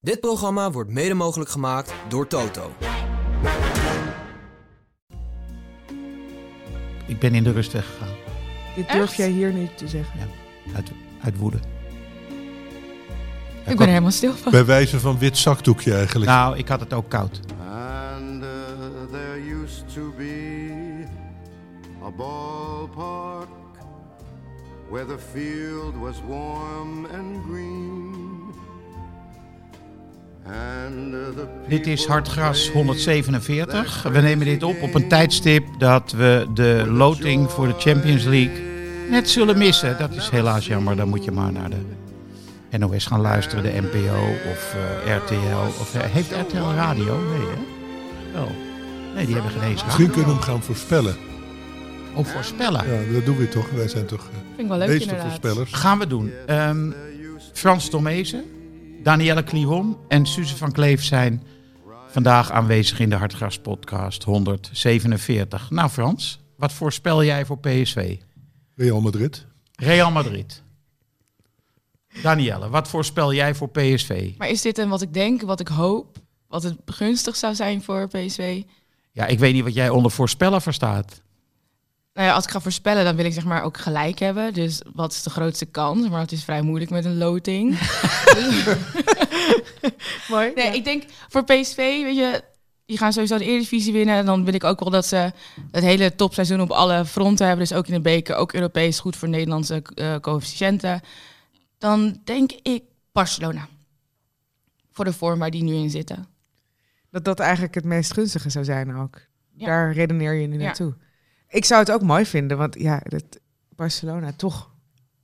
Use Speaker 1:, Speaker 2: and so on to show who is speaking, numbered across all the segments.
Speaker 1: Dit programma wordt mede mogelijk gemaakt door Toto.
Speaker 2: Ik ben in de rust weggegaan.
Speaker 3: Dit durf
Speaker 4: Echt?
Speaker 3: jij hier niet te zeggen.
Speaker 2: Uit, uit woede.
Speaker 4: Ik ben er helemaal stil van.
Speaker 5: Bij wijze van wit zakdoekje eigenlijk.
Speaker 2: Nou, ik had het ook koud.
Speaker 6: And uh, there used to be a ballpark where the field was warm and green. And uh, the
Speaker 2: Dit is
Speaker 6: people
Speaker 2: Hartgras
Speaker 6: played
Speaker 2: 147. We nemen dit op op een tijdstip dat we de loting voor de Champions League net zullen missen. Dat is helaas jammer. Dan moet je maar naar de NOS gaan luisteren, de NPO of eh, RTL. Of, eh, heeft RTL radio? Nee, hè? Wel. Nee, die hebben geen eens radio.
Speaker 5: Misschien kunnen we hem gaan voorspellen.
Speaker 2: Of voorspellen.
Speaker 5: Ja, dat doen we toch? Wij zijn toch eh,
Speaker 4: Vind ik wel leuk
Speaker 5: meester
Speaker 4: inderdaad.
Speaker 5: voorspellers.
Speaker 2: Gaan we doen. Ehm, Frans Tomezen, Danielle Clion en Suze van Kleef zijn vandaag aanwezig in de Hartgras podcast 147. Nou Frans, wat voorspel jij voor PSV?
Speaker 5: Real Madrid.
Speaker 2: Real Madrid. Danielle, wat voorspel jij voor PSV?
Speaker 4: Maar is dit een wat ik denk, wat ik hoop, wat het gunstig zou zijn voor PSV?
Speaker 2: Ja, ik weet niet wat jij onder voorspellen verstaat.
Speaker 4: Nou ja, als ik ga voorspellen, dan wil ik zeg maar ook gelijk hebben. Dus wat is de grootste kans? Maar het is vrij moeilijk met een loting.
Speaker 3: Mooi.
Speaker 4: Nee, ik denk voor PSV, weet je, die gaan sowieso de Eredivisie winnen. En dan wil ik ook wel dat ze het hele topseizoen op alle fronten hebben. Dus ook in de beker, ook Europees, goed voor Nederlandse eh, coëfficiënten. Dan denk ik Barcelona. Voor de vorm waar die nu in zitten.
Speaker 3: Dat dat eigenlijk het meest gunstige zou zijn ook.
Speaker 4: Ja.
Speaker 3: Daar redeneer je nu
Speaker 4: Ja.
Speaker 3: naartoe. Ik zou het ook mooi vinden, want ja, dat Barcelona toch,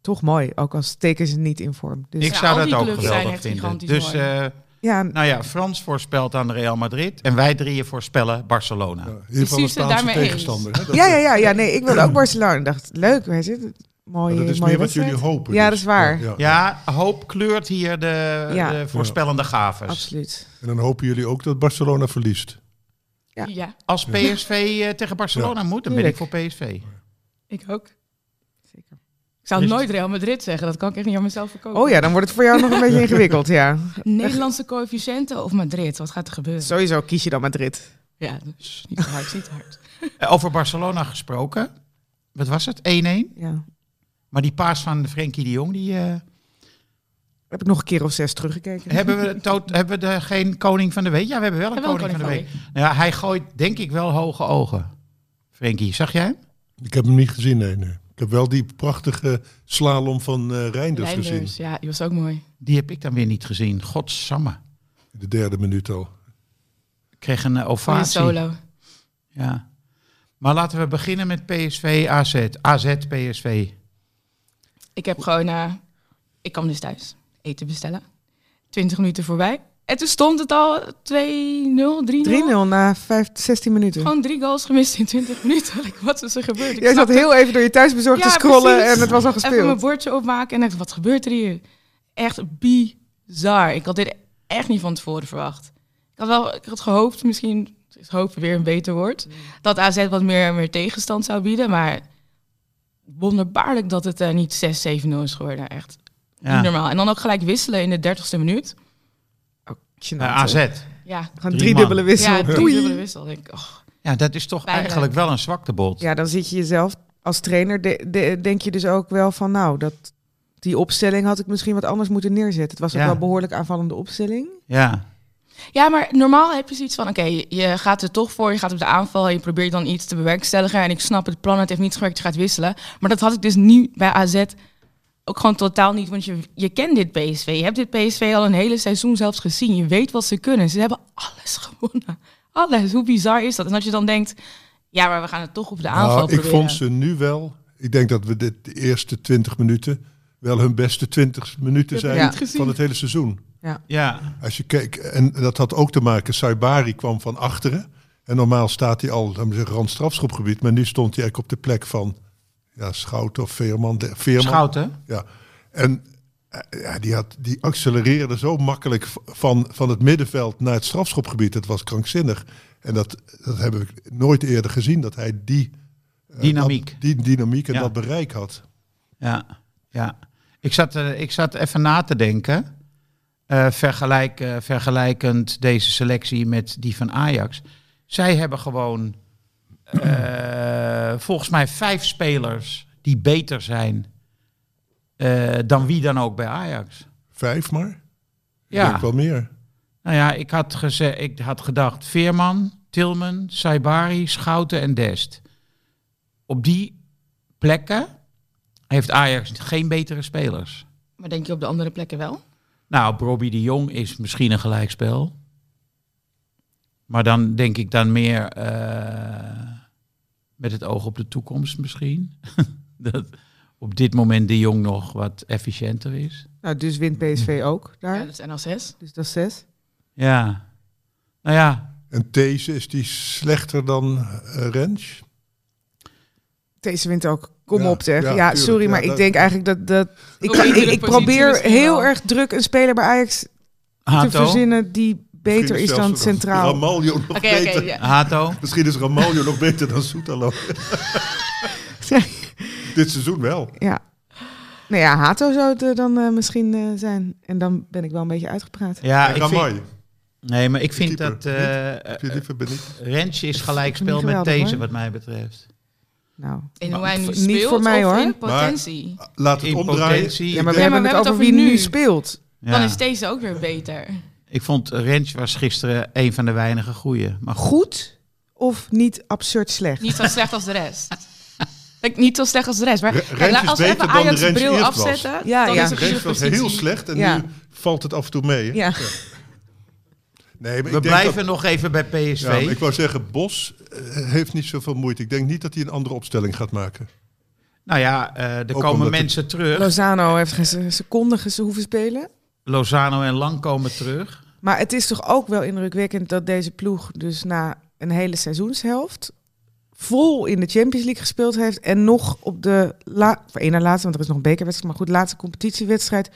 Speaker 3: toch mooi. Ook al steken ze niet in vorm. Dus
Speaker 2: ik
Speaker 4: Ja,
Speaker 2: zou
Speaker 4: al die
Speaker 2: dat ook
Speaker 4: clubs zijn
Speaker 2: geweldig
Speaker 4: echt
Speaker 2: vinden.
Speaker 4: gigantisch
Speaker 2: Dus
Speaker 4: mooi.
Speaker 2: eh,
Speaker 3: ja,
Speaker 2: nou ja, Frans voorspelt aan Real Madrid en wij drieën voorspellen Barcelona.
Speaker 5: Ja, in ieder geval een
Speaker 4: Precies,
Speaker 5: Spaanse
Speaker 4: daarmee eens.
Speaker 5: tegenstander. hè? Dat-
Speaker 3: ja, ja, ja, ja, nee, ik wilde ook Barcelona. Ik dacht, leuk, weet je, dat- mooie,
Speaker 5: Maar dat is
Speaker 3: mooie
Speaker 5: meer wat
Speaker 3: wedstrijd.
Speaker 5: jullie hopen.
Speaker 3: Ja,
Speaker 5: dus.
Speaker 3: dat is waar.
Speaker 2: Ja, hoop kleurt hier de,
Speaker 3: Ja.
Speaker 2: de voorspellende gaves.
Speaker 3: Absoluut.
Speaker 5: En dan hopen jullie ook dat Barcelona verliest.
Speaker 3: Ja.
Speaker 2: Als PSV eh, tegen Barcelona moet, dan ben ik voor PSV.
Speaker 4: ik ook.
Speaker 3: Zeker.
Speaker 4: Ik zou
Speaker 2: Dus-
Speaker 4: nooit Real Madrid zeggen. Dat kan ik echt niet aan mezelf verkopen.
Speaker 3: Oh ja, dan wordt het voor jou nog een beetje ingewikkeld, ja.
Speaker 4: Nederlandse coëfficiënten of Madrid? Wat gaat er gebeuren?
Speaker 3: Sowieso kies je dan Madrid.
Speaker 4: Ja, dat is niet te hard. is niet te hard.
Speaker 2: Eh, Over Barcelona gesproken. Wat was het? 1-1.
Speaker 3: Ja.
Speaker 2: Maar die paas van Frenkie de Jong, die eh,
Speaker 3: Heb ik nog een keer of zes teruggekeken.
Speaker 2: hebben we, tot, hebben we de, geen koning van de week. Ja, we hebben wel een,
Speaker 4: Hebben we
Speaker 2: koning,
Speaker 4: wel een
Speaker 2: van de week.
Speaker 4: koning
Speaker 2: Nou ja, hij gooit denk ik wel hoge ogen. Frenkie, zag jij hem?
Speaker 5: Ik heb hem niet gezien, nee, nee. Ik heb wel die prachtige slalom van eh
Speaker 3: Dus
Speaker 5: Reinders gezien.
Speaker 4: Reinders, ja, die was ook mooi.
Speaker 2: Die heb ik dan weer niet gezien. Godsamme.
Speaker 5: In de derde minuut al.
Speaker 2: Ik kreeg een eh,
Speaker 4: Goeie
Speaker 2: ovatie.
Speaker 4: solo.
Speaker 2: Ja. Maar laten we beginnen met PSV AZ. AZ PSV.
Speaker 4: Ik heb gewoon, eh, ik kwam dus thuis eten bestellen. 20 minuten voorbij. En toen stond het al 2-0, 3-0.
Speaker 3: 3-0 na 5, 16 minuten.
Speaker 4: Gewoon drie goals gemist in 20 minuten. Like, wat is er gebeurd? Ik
Speaker 3: Jij zat
Speaker 4: snapte-
Speaker 3: heel even door je thuisbezorgd
Speaker 4: Ja,
Speaker 3: te scrollen
Speaker 4: precies.
Speaker 3: en het was al
Speaker 4: Even mijn
Speaker 3: gespeeld.
Speaker 4: bordje opmaken en dacht, wat gebeurt er hier? Echt bizar. Ik had dit echt niet van tevoren verwacht. Ik had wel, ik had gehoopt, misschien is hopen weer een beter woord,
Speaker 3: Mm.
Speaker 4: dat AZ wat meer, meer tegenstand zou bieden, maar wonderbaarlijk dat het eh, niet 6-7-0 is geworden. Echt
Speaker 2: Ja.
Speaker 4: niet normaal. En dan ook gelijk wisselen in de 30ste minuut.
Speaker 3: Gênant,
Speaker 2: Eh,
Speaker 3: hoor.
Speaker 2: AZ.
Speaker 4: Ja,
Speaker 3: Gewoon
Speaker 2: Drie
Speaker 3: drie
Speaker 2: man.
Speaker 3: dubbele wissel.
Speaker 4: ja drie
Speaker 3: Doei.
Speaker 4: dubbele wissel. Denk ik, och,
Speaker 2: Ja, dat is toch
Speaker 4: Bijna.
Speaker 2: eigenlijk wel een zwaktebod.
Speaker 3: Ja, dan zit je jezelf als trainer, de- de- denk je dus ook wel van, nou, dat, die opstelling had ik misschien wat anders moeten neerzetten. Het was ook
Speaker 2: Ja.
Speaker 3: wel behoorlijk aanvallende opstelling.
Speaker 2: Ja.
Speaker 4: Ja, maar normaal heb je zoiets van: oké, je gaat er toch voor, je gaat op de aanval en je probeert dan iets te bewerkstelligen. En ik snap het plan, het heeft niet gewerkt, je gaat wisselen. Maar dat had ik dus nu bij AZ ook gewoon totaal niet, want je, je kent dit PSV. Je hebt dit PSV al een hele seizoen zelfs gezien. Je weet wat ze kunnen. Ze hebben alles gewonnen. Alles. Hoe bizar is dat? En dat je dan denkt: ja, maar we gaan het toch op de aanval
Speaker 5: Nou, ik
Speaker 4: proberen.
Speaker 5: vond ze nu wel. Ik denk dat we de de eerste 20 minuten wel hun beste 20 minuten
Speaker 4: Dat heb
Speaker 5: zijn
Speaker 4: ik niet gezien.
Speaker 5: van het hele seizoen.
Speaker 2: Ja.
Speaker 5: Als je kijkt, en dat had ook te maken, Saibari kwam van achteren. En normaal staat hij al, laten we zeggen, randstrafschopgebied. Maar nu stond hij eigenlijk op de plek van ja, Schout of Veerman. De, Veerman.
Speaker 2: Schouten.
Speaker 5: Ja. En eh, ja, die, had, die accelereerde zo makkelijk v- van, van het middenveld naar het strafschopgebied. Dat was krankzinnig. En dat, dat heb ik nooit eerder gezien, dat hij die... eh,
Speaker 2: Dynamiek.
Speaker 5: dat- die dynamiek en
Speaker 2: Ja.
Speaker 5: dat bereik had.
Speaker 2: Ja. Ja. Ik zat, eh, ik zat even na te denken. Eh, eh, vergelijk, eh, vergelijkend deze selectie met die van Ajax. Zij hebben gewoon eh, volgens mij vijf spelers die beter zijn eh, dan wie dan ook bij Ajax.
Speaker 5: Vijf maar? Ik
Speaker 2: Ja,
Speaker 5: denk wel meer.
Speaker 2: nou ja, ik had, geze- ik had gedacht Veerman, Tilman, Saibari, Schouten en Dest. Op die plekken heeft Ajax geen betere spelers.
Speaker 4: Maar denk je op de andere plekken wel?
Speaker 2: Nou, Robbie de Jong is misschien een gelijkspel. Maar dan denk ik dan meer eh, met het oog op de toekomst misschien. dat op dit moment de Jong nog wat efficiënter is.
Speaker 3: Nou, dus wint PSV
Speaker 5: Mm-hmm.
Speaker 3: ook
Speaker 4: Ja,
Speaker 3: daar.
Speaker 4: dat is NL6.
Speaker 3: Dus dat is zes.
Speaker 2: Ja. Nou ja,
Speaker 5: En These is die slechter dan eh, Rens?
Speaker 3: Deze wint ook. Kom
Speaker 5: Ja,
Speaker 3: op zeg.
Speaker 5: ja,
Speaker 3: Ja,
Speaker 5: tuurlijk.
Speaker 3: sorry,
Speaker 5: Ja,
Speaker 3: maar
Speaker 5: dat-
Speaker 3: ik denk eigenlijk dat... dat ik,
Speaker 4: Op
Speaker 3: ik,
Speaker 4: iedere
Speaker 3: ik
Speaker 4: positie
Speaker 3: probeer
Speaker 4: misschien
Speaker 3: heel
Speaker 4: wel.
Speaker 3: erg druk een speler bij Ajax te
Speaker 2: Hato.
Speaker 3: verzinnen die beter is dan centraal.
Speaker 5: Ramaljo nog
Speaker 4: Oké, oké.
Speaker 5: beter.
Speaker 4: ja.
Speaker 2: Hato.
Speaker 5: Misschien is Ramaljo nog beter dan Soetalo. Dit seizoen wel.
Speaker 3: Ja. Nou ja, Hato zou het eh, dan eh, misschien eh, zijn. En dan ben ik wel een beetje uitgepraat.
Speaker 2: Ja,
Speaker 5: en
Speaker 2: ik vind,
Speaker 5: Ramai.
Speaker 2: nee, maar ik vind
Speaker 5: Keeper,
Speaker 2: dat eh
Speaker 5: Heb je liever Benitez?
Speaker 2: Rensje is gelijkspel met
Speaker 3: Geweldig,
Speaker 2: deze
Speaker 3: hoor.
Speaker 2: wat mij betreft.
Speaker 3: Nou,
Speaker 4: In hoe hij nu
Speaker 3: Niet
Speaker 4: speelt
Speaker 3: voor mij,
Speaker 4: of
Speaker 3: hoor.
Speaker 4: in potentie.
Speaker 5: Laat het
Speaker 2: In
Speaker 5: omdraaien.
Speaker 2: potentie.
Speaker 3: ja, maar
Speaker 5: denk-
Speaker 3: we hebben het over wie nu speelt.
Speaker 2: Ja.
Speaker 4: Dan is deze ook weer beter.
Speaker 2: Ik vond Rens was gisteren een van de weinige goeie. Maar goed.
Speaker 3: Goed of niet absurd slecht?
Speaker 4: Niet zo slecht als de rest. Like, niet zo slecht als de rest. Maar
Speaker 5: Re-
Speaker 4: kijk,
Speaker 5: Rens
Speaker 4: laat-
Speaker 5: is
Speaker 4: als we
Speaker 5: beter
Speaker 4: even
Speaker 5: dan de
Speaker 4: Ajax
Speaker 5: Rens
Speaker 4: bril
Speaker 5: eerst was.
Speaker 4: afzetten,
Speaker 3: Ja,
Speaker 4: dan
Speaker 3: ja.
Speaker 4: is er
Speaker 5: Rens
Speaker 4: iedere
Speaker 5: was
Speaker 4: positie.
Speaker 5: heel slecht en
Speaker 3: Ja.
Speaker 5: nu valt het af en toe mee. hè?
Speaker 3: Ja.
Speaker 5: Nee, maar
Speaker 2: We
Speaker 5: ik denk
Speaker 2: blijven
Speaker 5: dat-
Speaker 2: nog even bij PSV.
Speaker 5: Ja, maar ik wou zeggen, Bos eh, heeft niet zoveel moeite. Ik denk niet dat hij een andere opstelling gaat maken.
Speaker 2: Nou ja, eh er
Speaker 5: Ook
Speaker 2: komen
Speaker 5: omdat het-
Speaker 2: mensen terug.
Speaker 3: Lozano heeft geen se- seconde ges- hoeven spelen.
Speaker 2: Lozano en Lang komen terug.
Speaker 3: Maar het is toch ook wel indrukwekkend dat deze ploeg dus na een hele seizoenshelft vol in de Champions League gespeeld heeft en nog op de la of één na laatste, want er is nog een bekerwedstrijd, maar goed, laatste competitiewedstrijd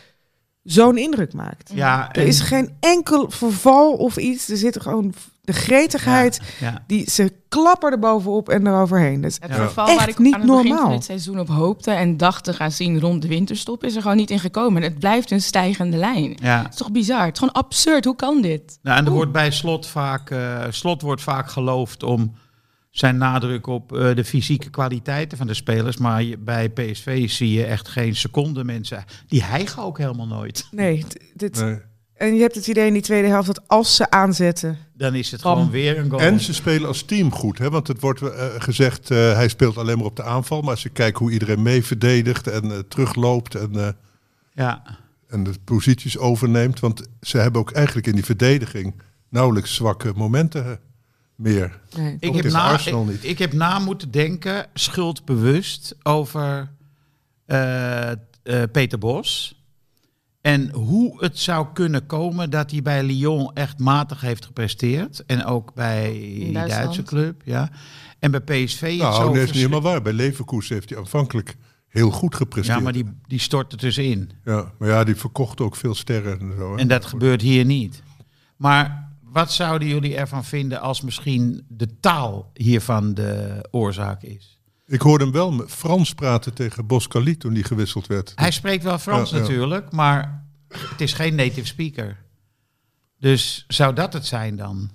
Speaker 3: zo'n indruk maakt.
Speaker 2: Ja,
Speaker 3: Er
Speaker 2: en-
Speaker 3: is geen enkel verval of iets. Er zit gewoon de gretigheid.
Speaker 2: ja.
Speaker 3: Die, ze klappen er bovenop en eroverheen. Dus
Speaker 4: Het
Speaker 2: Ja.
Speaker 4: verval
Speaker 3: Echt
Speaker 4: waar ik
Speaker 3: niet
Speaker 4: aan het begin van
Speaker 3: normaal.
Speaker 4: dit seizoen op hoopte en dacht te gaan zien rond de winterstop, is er gewoon niet in gekomen. Het blijft een stijgende lijn. Het
Speaker 2: ja.
Speaker 4: is toch bizar? Het is gewoon absurd. Hoe kan dit?
Speaker 2: Nou, en er wordt bij slot vaak, eh, slot wordt vaak geloofd om zijn nadruk op eh, de fysieke kwaliteiten van de spelers. Maar je- bij PSV zie je echt geen seconde mensen. Die hijgen ook helemaal nooit.
Speaker 3: nee, d- dit,
Speaker 5: Nee.
Speaker 3: en je hebt het idee in die tweede helft dat als ze aanzetten,
Speaker 2: Dan is het
Speaker 3: Bam.
Speaker 2: gewoon weer een goal.
Speaker 5: En ze spelen als team goed. Hè? Want het wordt eh, gezegd, eh, hij speelt alleen maar op de aanval. Maar als je kijkt hoe iedereen mee verdedigt en eh, terugloopt en, eh,
Speaker 2: Ja.
Speaker 5: en de posities overneemt. Want ze hebben ook eigenlijk in die verdediging nauwelijks zwakke momenten eh, meer.
Speaker 3: nee.
Speaker 2: Ik
Speaker 5: Ook
Speaker 2: heb,
Speaker 5: tegen
Speaker 2: na, ik,
Speaker 5: Arsenal niet.
Speaker 2: ik heb na moeten denken, schuldbewust, over eh, eh, Peter Bos. En hoe het zou kunnen komen dat hij bij Lyon echt matig heeft gepresteerd. En ook bij die
Speaker 4: Duitsland.
Speaker 2: Duitse club. Ja. En bij PSV. het
Speaker 5: Nou,
Speaker 2: zo
Speaker 5: nee, is niet
Speaker 2: verschri-
Speaker 5: helemaal waar. Bij Leverkusen heeft hij aanvankelijk heel goed gepresteerd.
Speaker 2: Ja, maar die, die stort er tussenin.
Speaker 5: ja, maar ja, die verkocht ook veel sterren en zo. hè.
Speaker 2: En dat gebeurt hier niet. Maar wat zouden jullie ervan vinden als misschien de taal hiervan de oorzaak is?
Speaker 5: Ik hoorde hem wel met Frans praten tegen Boscali toen die gewisseld werd.
Speaker 2: Hij spreekt wel Frans
Speaker 5: Ja, ja.
Speaker 2: natuurlijk, maar het is geen native speaker. Dus zou dat het zijn dan?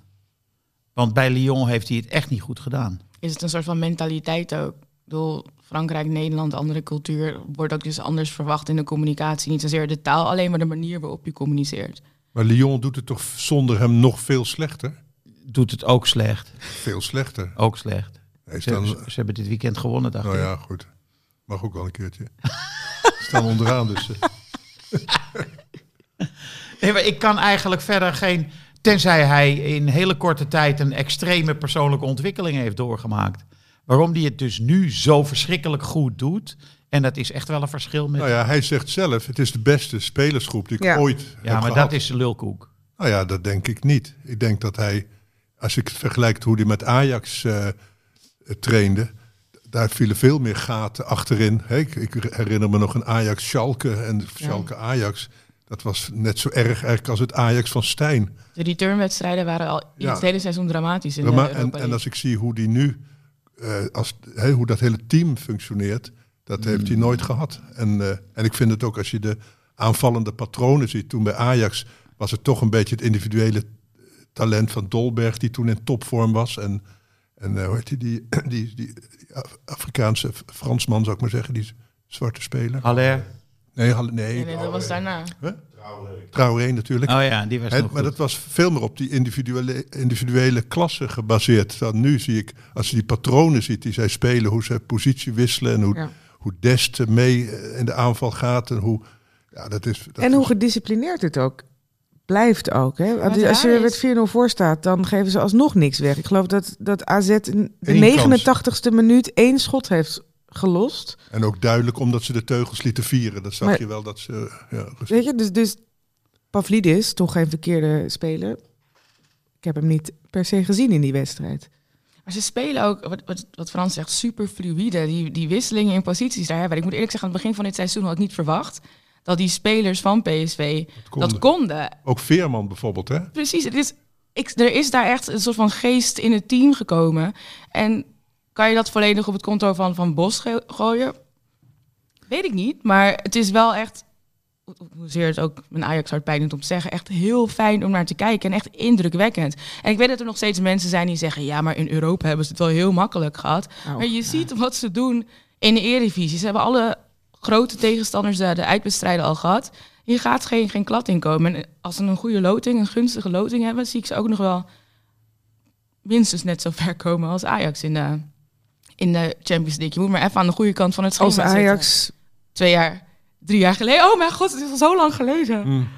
Speaker 2: Want bij Lyon heeft hij het echt niet goed gedaan.
Speaker 4: Is het een soort van mentaliteit ook? Ik bedoel, Frankrijk, Nederland, andere cultuur wordt ook dus anders verwacht in de communicatie. Niet zozeer de taal, alleen maar de manier waarop je communiceert.
Speaker 5: Maar Lyon doet het toch zonder hem nog veel slechter?
Speaker 2: Doet het ook slecht.
Speaker 5: Veel slechter.
Speaker 2: Ook slecht.
Speaker 5: Hij is
Speaker 2: Ze,
Speaker 5: dan,
Speaker 2: ze- ze hebben dit weekend gewonnen, dacht
Speaker 5: nou
Speaker 2: ik.
Speaker 5: ja, goed. Mag ook wel een keertje. Staan onderaan dus. eh.
Speaker 2: Nee, maar ik kan eigenlijk verder geen... Tenzij hij in hele korte tijd een extreme persoonlijke ontwikkeling heeft doorgemaakt. Waarom hij het dus nu zo verschrikkelijk goed doet. En dat is echt wel een verschil met...
Speaker 5: Nou ja, hij zegt zelf, het is de beste spelersgroep die ik
Speaker 3: Ja.
Speaker 5: ooit heb
Speaker 2: ja, maar
Speaker 5: gehad.
Speaker 2: dat is lulkoek.
Speaker 5: Nou ja, dat denk ik niet. Ik denk dat hij, als ik het vergelijk hoe hij met Ajax eh, eh, trainde, daar vielen veel meer gaten achterin. Hè, ik, ik herinner me nog een Ajax-Schalke en Schalke-Ajax. Dat was net zo erg eigenlijk als het Ajax van Stijn.
Speaker 4: De returnwedstrijden waren al
Speaker 5: Ja.
Speaker 4: het hele seizoen dramatisch in
Speaker 5: Ja,
Speaker 4: de
Speaker 5: maar, en,
Speaker 4: Europa
Speaker 5: en
Speaker 4: League.
Speaker 5: als ik zie hoe die nu, eh, als, hè, hoe dat hele team functioneert, dat heeft hij nooit gehad. En, eh, en ik vind het ook als je de aanvallende patronen ziet toen bij Ajax. was het toch een beetje het individuele talent van Dolberg, die toen in topvorm was. En, en eh, hoe heet die, die, die, die Af- Afrikaanse Fransman, zou ik maar zeggen, die zwarte speler.
Speaker 2: Haller.
Speaker 5: Nee, Halle- nee,
Speaker 4: Ah. Nee, nee, dat was daarna.
Speaker 5: Traoré natuurlijk.
Speaker 2: Oh ja, die was
Speaker 5: Hè,
Speaker 2: nog
Speaker 5: maar
Speaker 2: goed.
Speaker 5: dat was veel meer op die individuele, individuele klasse gebaseerd. Dan nu zie ik, als je die patronen ziet die zij spelen, hoe ze positie wisselen en hoe,
Speaker 3: Ja.
Speaker 5: hoe Dest mee eh, in de aanval gaat. En hoe, ja, dat is, dat
Speaker 3: En hoe
Speaker 5: is-
Speaker 3: gedisciplineerd het ook blijft ook. Hè?
Speaker 4: Wat
Speaker 3: Dus als je
Speaker 4: raar
Speaker 3: met 4-0 voor staat, dan geven ze alsnog niks weg. Ik geloof dat, dat AZ in de
Speaker 5: Eén
Speaker 3: 89ste minuut één schot heeft gelost.
Speaker 5: en ook duidelijk omdat ze de teugels lieten vieren. Dat zag
Speaker 3: Maar-
Speaker 5: je wel dat ze. eh, Ja, rust-
Speaker 3: Weet je, dus, dus Pavlidis, toch geen verkeerde speler. Ik heb hem niet per se gezien in die wedstrijd.
Speaker 4: Maar ze spelen ook, wat, wat, wat Frans zegt, super fluïde. Die, die wisselingen in posities daar hebben. Ik moet eerlijk zeggen, aan het begin van dit seizoen had ik niet verwacht dat die spelers van PSV
Speaker 5: konden.
Speaker 4: dat konden.
Speaker 5: ook Veerman bijvoorbeeld, hè?
Speaker 4: Precies, het is, ik, er is daar echt een soort van geest in het team gekomen. En kan je dat volledig op het konto van Van Bos ge- gooien? Weet ik niet, maar het is wel echt, ho- ho- hoezeer het ook mijn Ajax hart pijn doet om te zeggen, echt heel fijn om naar te kijken en echt indrukwekkend. En ik weet dat er nog steeds mensen zijn die zeggen, ja, maar in Europa hebben ze het wel heel makkelijk gehad.
Speaker 3: Nou,
Speaker 4: maar je ziet wat ze doen in de Eredivisie. Ze hebben alle grote tegenstanders eh, de uitwedstrijden al gehad. Hier gaat geen, geen klad in komen. En als ze een goede loting, een gunstige loting hebben, zie ik ze ook nog wel minstens net zo ver komen als Ajax in de, in de Champions League. Je moet maar even aan de goede kant van het schema
Speaker 3: Als
Speaker 4: zitten.
Speaker 3: Ajax...
Speaker 4: Twee jaar, drie jaar geleden. Oh mijn god, het is al zo lang geleden.
Speaker 3: Mm.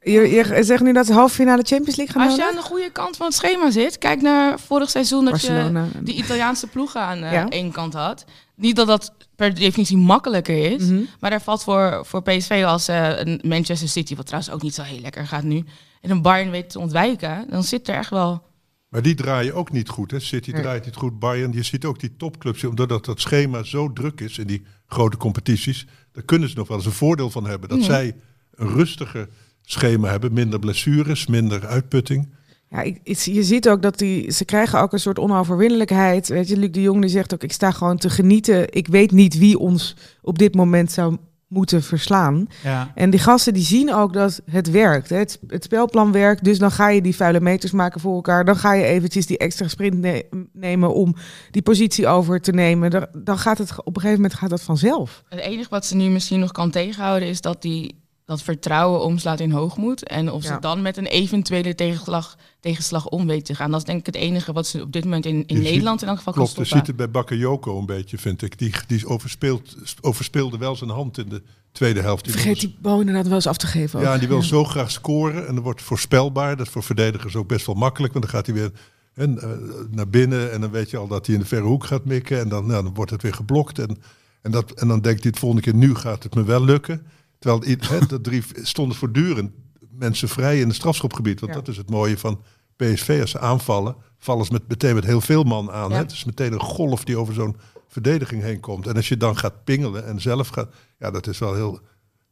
Speaker 3: Je, je zegt nu dat ze halve finale Champions League gaan
Speaker 4: Als je
Speaker 3: halen?
Speaker 4: aan de goede kant van het schema zit, kijk naar vorig seizoen dat
Speaker 3: Barcelona.
Speaker 4: je die Italiaanse ploegen aan eh,
Speaker 3: Ja.
Speaker 4: één kant had. Niet dat dat per definitie makkelijker is,
Speaker 3: Mhm.
Speaker 4: maar daar valt voor, voor PSV als eh, een Manchester City, wat trouwens ook niet zo heel lekker gaat nu, en een Bayern weet te ontwijken, dan zit er echt wel...
Speaker 5: Maar die draaien ook niet goed. Hè? City
Speaker 3: Nee.
Speaker 5: draait niet goed, Bayern. Je ziet ook die topclubs, omdat dat, dat schema zo druk is in die grote competities. Daar kunnen ze nog wel eens een voordeel van hebben. Dat zij een rustiger schema hebben. Minder blessures, minder uitputting.
Speaker 3: Ja, ik, ik- je ziet ook dat die, ze krijgen ook een soort onoverwinnelijkheid. Weet je, Luc de Jong die zegt ook, ik sta gewoon te genieten. Ik weet niet wie ons op dit moment zou moeten verslaan.
Speaker 2: Ja.
Speaker 3: En die gasten die zien ook dat het werkt. Hè. Het, het spelplan werkt, dus dan ga je die vuile meters maken voor elkaar. Dan ga je eventjes die extra sprint ne- nemen om die positie over te nemen. Dan, dan gaat het op een gegeven moment gaat dat vanzelf.
Speaker 4: Het enige wat ze nu misschien nog kan tegenhouden is dat die dat vertrouwen omslaat in hoogmoed. En of
Speaker 3: Ja.
Speaker 4: ze dan met een eventuele tegenslag, tegenslag om weet te gaan. Dat is denk ik het enige wat ze op dit moment in,
Speaker 5: Je
Speaker 4: in
Speaker 5: ziet-
Speaker 4: Nederland in elk geval
Speaker 5: Klopt,
Speaker 4: kan
Speaker 5: je
Speaker 4: stoppen.
Speaker 5: ziet het bij Bakayoko een beetje, vind ik. Die, die overspeelt, overspeelde wel zijn hand in de tweede helft. Die
Speaker 3: Vergeet
Speaker 5: wil-
Speaker 3: die bal inderdaad wel eens af te geven. ook.
Speaker 5: Ja, en die wil zo graag scoren. En dat wordt voorspelbaar. Dat is voor verdedigers ook best wel makkelijk. Want dan gaat hij weer hè, eh, naar binnen. En dan weet je al dat hij in de verre hoek gaat mikken. En dan, nou, dan wordt het weer geblokt. En, en, dat, en dan denkt hij het volgende keer, nu gaat het me wel lukken. Terwijl i- hè, dat drie stonden voortdurend mensen vrij in het strafschopgebied. Want
Speaker 3: Ja.
Speaker 5: dat is het mooie van PSV. Als ze aanvallen, vallen ze met, meteen met heel veel man aan.
Speaker 4: Ja.
Speaker 5: Hè? Het is meteen een golf die over zo'n verdediging heen komt. En als je dan gaat pingelen en zelf gaat... Ja, dat is wel heel...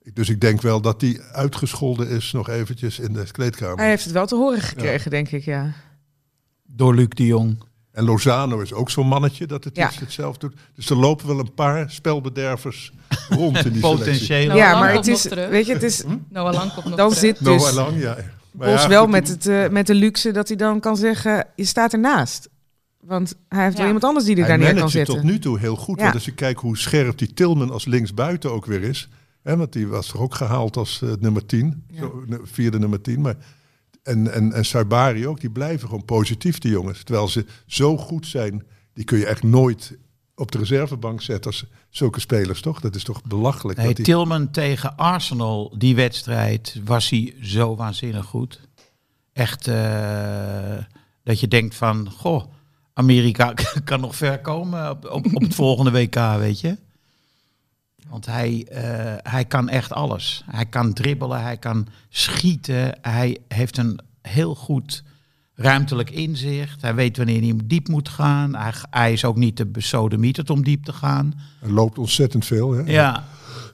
Speaker 5: Ik- Dus ik denk wel dat die uitgescholden is nog eventjes in de kleedkamer.
Speaker 3: Hij heeft het wel te horen gekregen, denk ik,
Speaker 4: Nou,
Speaker 3: ja.
Speaker 2: Door Luc de Jong.
Speaker 5: En Lozano is ook zo'n mannetje dat het
Speaker 3: Ja.
Speaker 5: iets hetzelfde doet. Dus er lopen wel een paar spelbedervers rond in die selectie.
Speaker 2: Potentieel.
Speaker 4: Nou,
Speaker 3: ja,
Speaker 4: Lang
Speaker 3: maar
Speaker 4: komt
Speaker 3: het is,
Speaker 4: nog terug.
Speaker 3: weet je, het is,
Speaker 4: Noah Lang komt nog
Speaker 3: dan
Speaker 4: terug.
Speaker 3: zit
Speaker 5: Noah
Speaker 3: dus
Speaker 5: Lang, ja. Maar
Speaker 3: Bos
Speaker 5: ja,
Speaker 3: wel
Speaker 5: goed,
Speaker 3: met,
Speaker 5: die-
Speaker 3: het, eh, met de luxe dat hij dan kan zeggen, je staat ernaast. Want hij heeft
Speaker 4: Ja.
Speaker 3: wel iemand anders die er
Speaker 5: hij
Speaker 3: daar neer
Speaker 5: managt
Speaker 3: kan
Speaker 5: het
Speaker 3: zetten.
Speaker 5: tot nu toe heel goed.
Speaker 3: Ja.
Speaker 5: Want als je kijkt hoe scherp die Tilman als linksbuiten ook weer is. Hè, want die was toch ook gehaald als eh, nummer 10. Zo, ne- vierde nummer 10. Maar, en, en, en Saibari ook. Die blijven gewoon positief, die jongens. Terwijl ze zo goed zijn. Die kun je echt nooit op de reservebank zetten als zulke spelers, toch? Dat is toch belachelijk.
Speaker 2: Nee,
Speaker 5: dat die-
Speaker 2: Tilman tegen Arsenal, die wedstrijd, was hij zo waanzinnig goed. Echt eh, dat je denkt van, goh, Amerika kan nog ver komen op, op, op het volgende WK, weet je. Want hij, eh, hij kan echt alles. Hij kan dribbelen, hij kan schieten, hij heeft een heel goed ruimtelijk inzicht. Hij weet wanneer hij diep moet gaan. Hij, hij is ook niet te besodemieterd om diep te gaan.
Speaker 5: Er loopt ontzettend veel. Hè?
Speaker 2: Ja,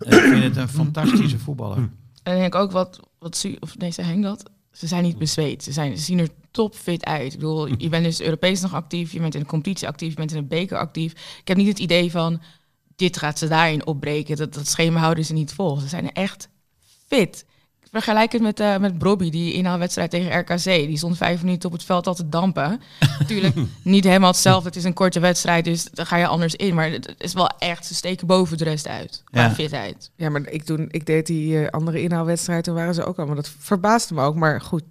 Speaker 2: Eh, ik vind het een fantastische voetballer.
Speaker 4: En dan denk ik ook wat, wat zie, of nee, zei Henk dat? Ze zijn niet bezweet. Ze, zijn, ze zien er topfit uit. Ik bedoel, je bent dus Europees nog actief, je bent in de competitie actief, je bent in de beker actief. Ik heb niet het idee van, dit gaat ze daarin opbreken. Dat, dat schema houden ze niet vol. Ze zijn echt fit. vergelijk het met, eh met Brobby, die inhaalwedstrijd tegen RKC. Die stond vijf minuten op het veld al te dampen. Natuurlijk niet helemaal hetzelfde. Het is een korte wedstrijd, dus daar ga je anders in. Maar het is wel echt, ze steken boven de rest uit. Qua
Speaker 2: Ja.
Speaker 4: fitheid.
Speaker 3: Ja, maar ik, toen, ik deed die eh, andere inhaalwedstrijd, toen waren ze ook allemaal... Dat verbaasde me ook, maar goed,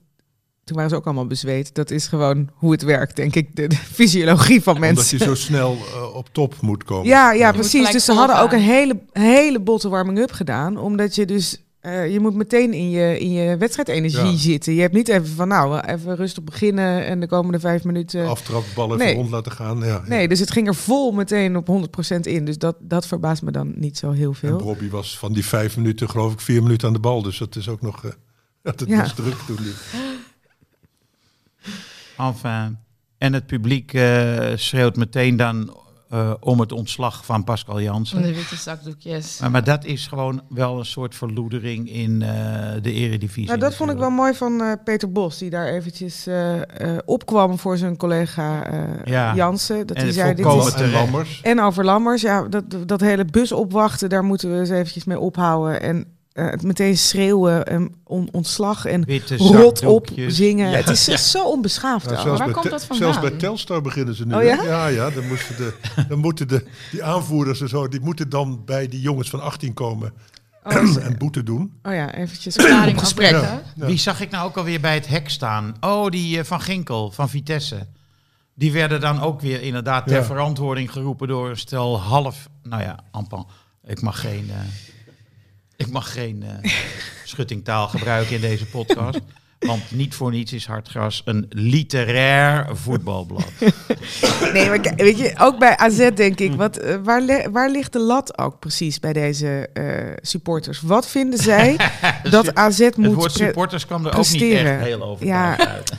Speaker 3: toen waren ze ook allemaal bezweet. Dat is gewoon hoe het werkt, denk ik, de, de fysiologie van
Speaker 5: Omdat
Speaker 3: mensen.
Speaker 5: je zo snel eh, op top moet komen. Eh,
Speaker 3: Ja, ja,
Speaker 4: moet
Speaker 3: precies.
Speaker 4: gelijk
Speaker 3: Dus ze hadden ook
Speaker 4: voorgaan.
Speaker 3: een hele, hele botte warming-up gedaan. Omdat je dus... eh, je moet meteen in je, in je wedstrijdenergie
Speaker 5: Ja.
Speaker 3: zitten. Je hebt niet even van, nou, even rustig beginnen... en de komende vijf minuten...
Speaker 5: Aftrap, bal even
Speaker 3: Nee.
Speaker 5: rond laten gaan. Ja,
Speaker 3: Nee, dus het ging er vol meteen op 100% in. Dus dat, dat verbaast me dan niet zo heel
Speaker 5: En
Speaker 3: veel.
Speaker 5: Robbie was van die vijf minuten, geloof ik, vier minuten aan de bal. Dus dat is ook nog... eh dat het
Speaker 3: Ja.
Speaker 5: was druk toen. die-
Speaker 2: Enfin. eh, En het publiek eh, schreeuwt meteen dan eh, om het ontslag van Pascal Jansen.
Speaker 4: Van de witte zakdoekjes.
Speaker 2: Maar, maar dat is gewoon wel een soort verloedering in eh, de eredivisie.
Speaker 3: Nou, dat vond ik wel
Speaker 2: natuurlijk.
Speaker 3: mooi van eh, Peter Bos, die daar eventjes eh, eh, opkwam voor zijn collega eh,
Speaker 2: Ja.
Speaker 3: Jansen.
Speaker 2: En
Speaker 3: Dat hij
Speaker 2: het
Speaker 3: zei, dit
Speaker 2: volkomen
Speaker 3: is...
Speaker 5: en
Speaker 2: terecht.
Speaker 5: Lammers.
Speaker 3: En over Lammers, ja, dat, dat hele bus opwachten, daar moeten we eens eventjes mee ophouden. En eh, het meteen schreeuwen en on- ontslag en
Speaker 2: Witte
Speaker 3: rot op
Speaker 2: zakdoekjes.
Speaker 3: zingen. Het is zo onbeschaafd.
Speaker 5: Nou,
Speaker 3: allemaal.
Speaker 5: zelfs
Speaker 4: waar
Speaker 5: bij
Speaker 4: komt
Speaker 5: Te-
Speaker 4: dat vandaan?
Speaker 5: Zelfs bij Telstar beginnen ze nu.
Speaker 3: Oh
Speaker 5: hè?
Speaker 3: ja?
Speaker 5: ja, ja, dan, moesten de, dan moeten de, die aanvoerders en zo, die moeten dan bij die jongens van 18 komen
Speaker 4: Oh,
Speaker 5: en boete doen.
Speaker 3: Oh ja, eventjes
Speaker 4: Verklaring
Speaker 3: gesprek.
Speaker 4: afleggen.
Speaker 5: Ja.
Speaker 2: Wie zag ik nou ook alweer bij het hek staan? Oh, die eh, van Ginkel, van Vitesse. Die werden dan ook weer inderdaad ter
Speaker 5: Ja.
Speaker 2: verantwoording geroepen door een stel half... Nou ja, Ampan, ik mag geen, eh, ik mag geen eh, schuttingtaal gebruiken in deze podcast. Want niet voor niets is Hartgras een literair voetbalblad.
Speaker 3: Nee, maar kijk, weet je, ook bij AZ denk ik, wat, eh, waar, le- waar ligt de lat ook precies bij deze eh, supporters? Wat vinden zij dat AZ
Speaker 2: het
Speaker 3: moet...
Speaker 2: woord
Speaker 3: pre-
Speaker 2: supporters kwam er ook niet
Speaker 3: presteren.
Speaker 2: echt heel overtuigd uit.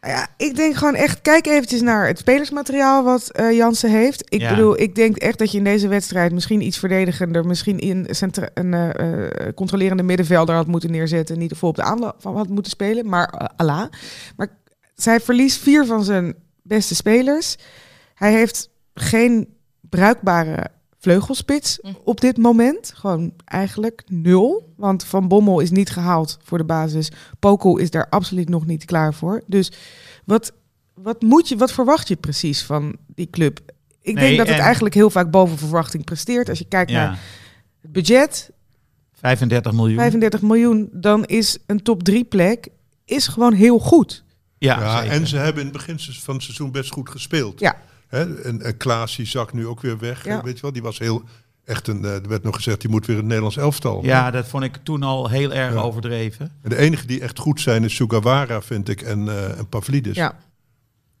Speaker 3: Nou ja, ik denk gewoon echt, kijk eventjes naar het spelersmateriaal wat eh Jansen heeft. Ik
Speaker 2: Ja.
Speaker 3: bedoel, ik denk echt dat je in deze wedstrijd misschien iets verdedigender, misschien in centra- een eh, eh, controlerende middenvelder had moeten neerzetten. en Niet vol op de aanval had moeten spelen, maar eh, ala. Maar zij verliest vier van zijn beste spelers. Hij heeft geen bruikbare vleugelspits
Speaker 4: Hm.
Speaker 3: op dit moment. Gewoon eigenlijk nul. Want Van Bommel is niet gehaald voor de basis. Poco is daar absoluut nog niet klaar voor. Dus wat, wat, moet je, wat verwacht je precies van die club? Ik
Speaker 2: Nee,
Speaker 3: denk dat het
Speaker 2: en-
Speaker 3: eigenlijk heel vaak boven verwachting presteert. Als je kijkt
Speaker 2: Ja,
Speaker 3: naar het budget,
Speaker 2: 35 miljoen.
Speaker 3: 35 miljoen, dan is een top 3 plek is gewoon heel goed.
Speaker 2: Ja,
Speaker 5: Ja,
Speaker 2: zeker.
Speaker 5: en ze hebben in het begin van het seizoen best goed gespeeld.
Speaker 3: Ja.
Speaker 5: Hè? En, en Klaas die zak nu ook weer weg.
Speaker 3: Ja.
Speaker 5: Weet je wel, die was heel echt een. eh, Er werd nog gezegd, die moet weer in het Nederlands elftal.
Speaker 2: ja, dat vond ik toen al heel erg
Speaker 5: Ja.
Speaker 2: overdreven.
Speaker 5: En de enige die echt goed zijn is Sugawara, vind ik, en, eh, en
Speaker 2: Dus
Speaker 5: Pavlidis.
Speaker 3: Ja.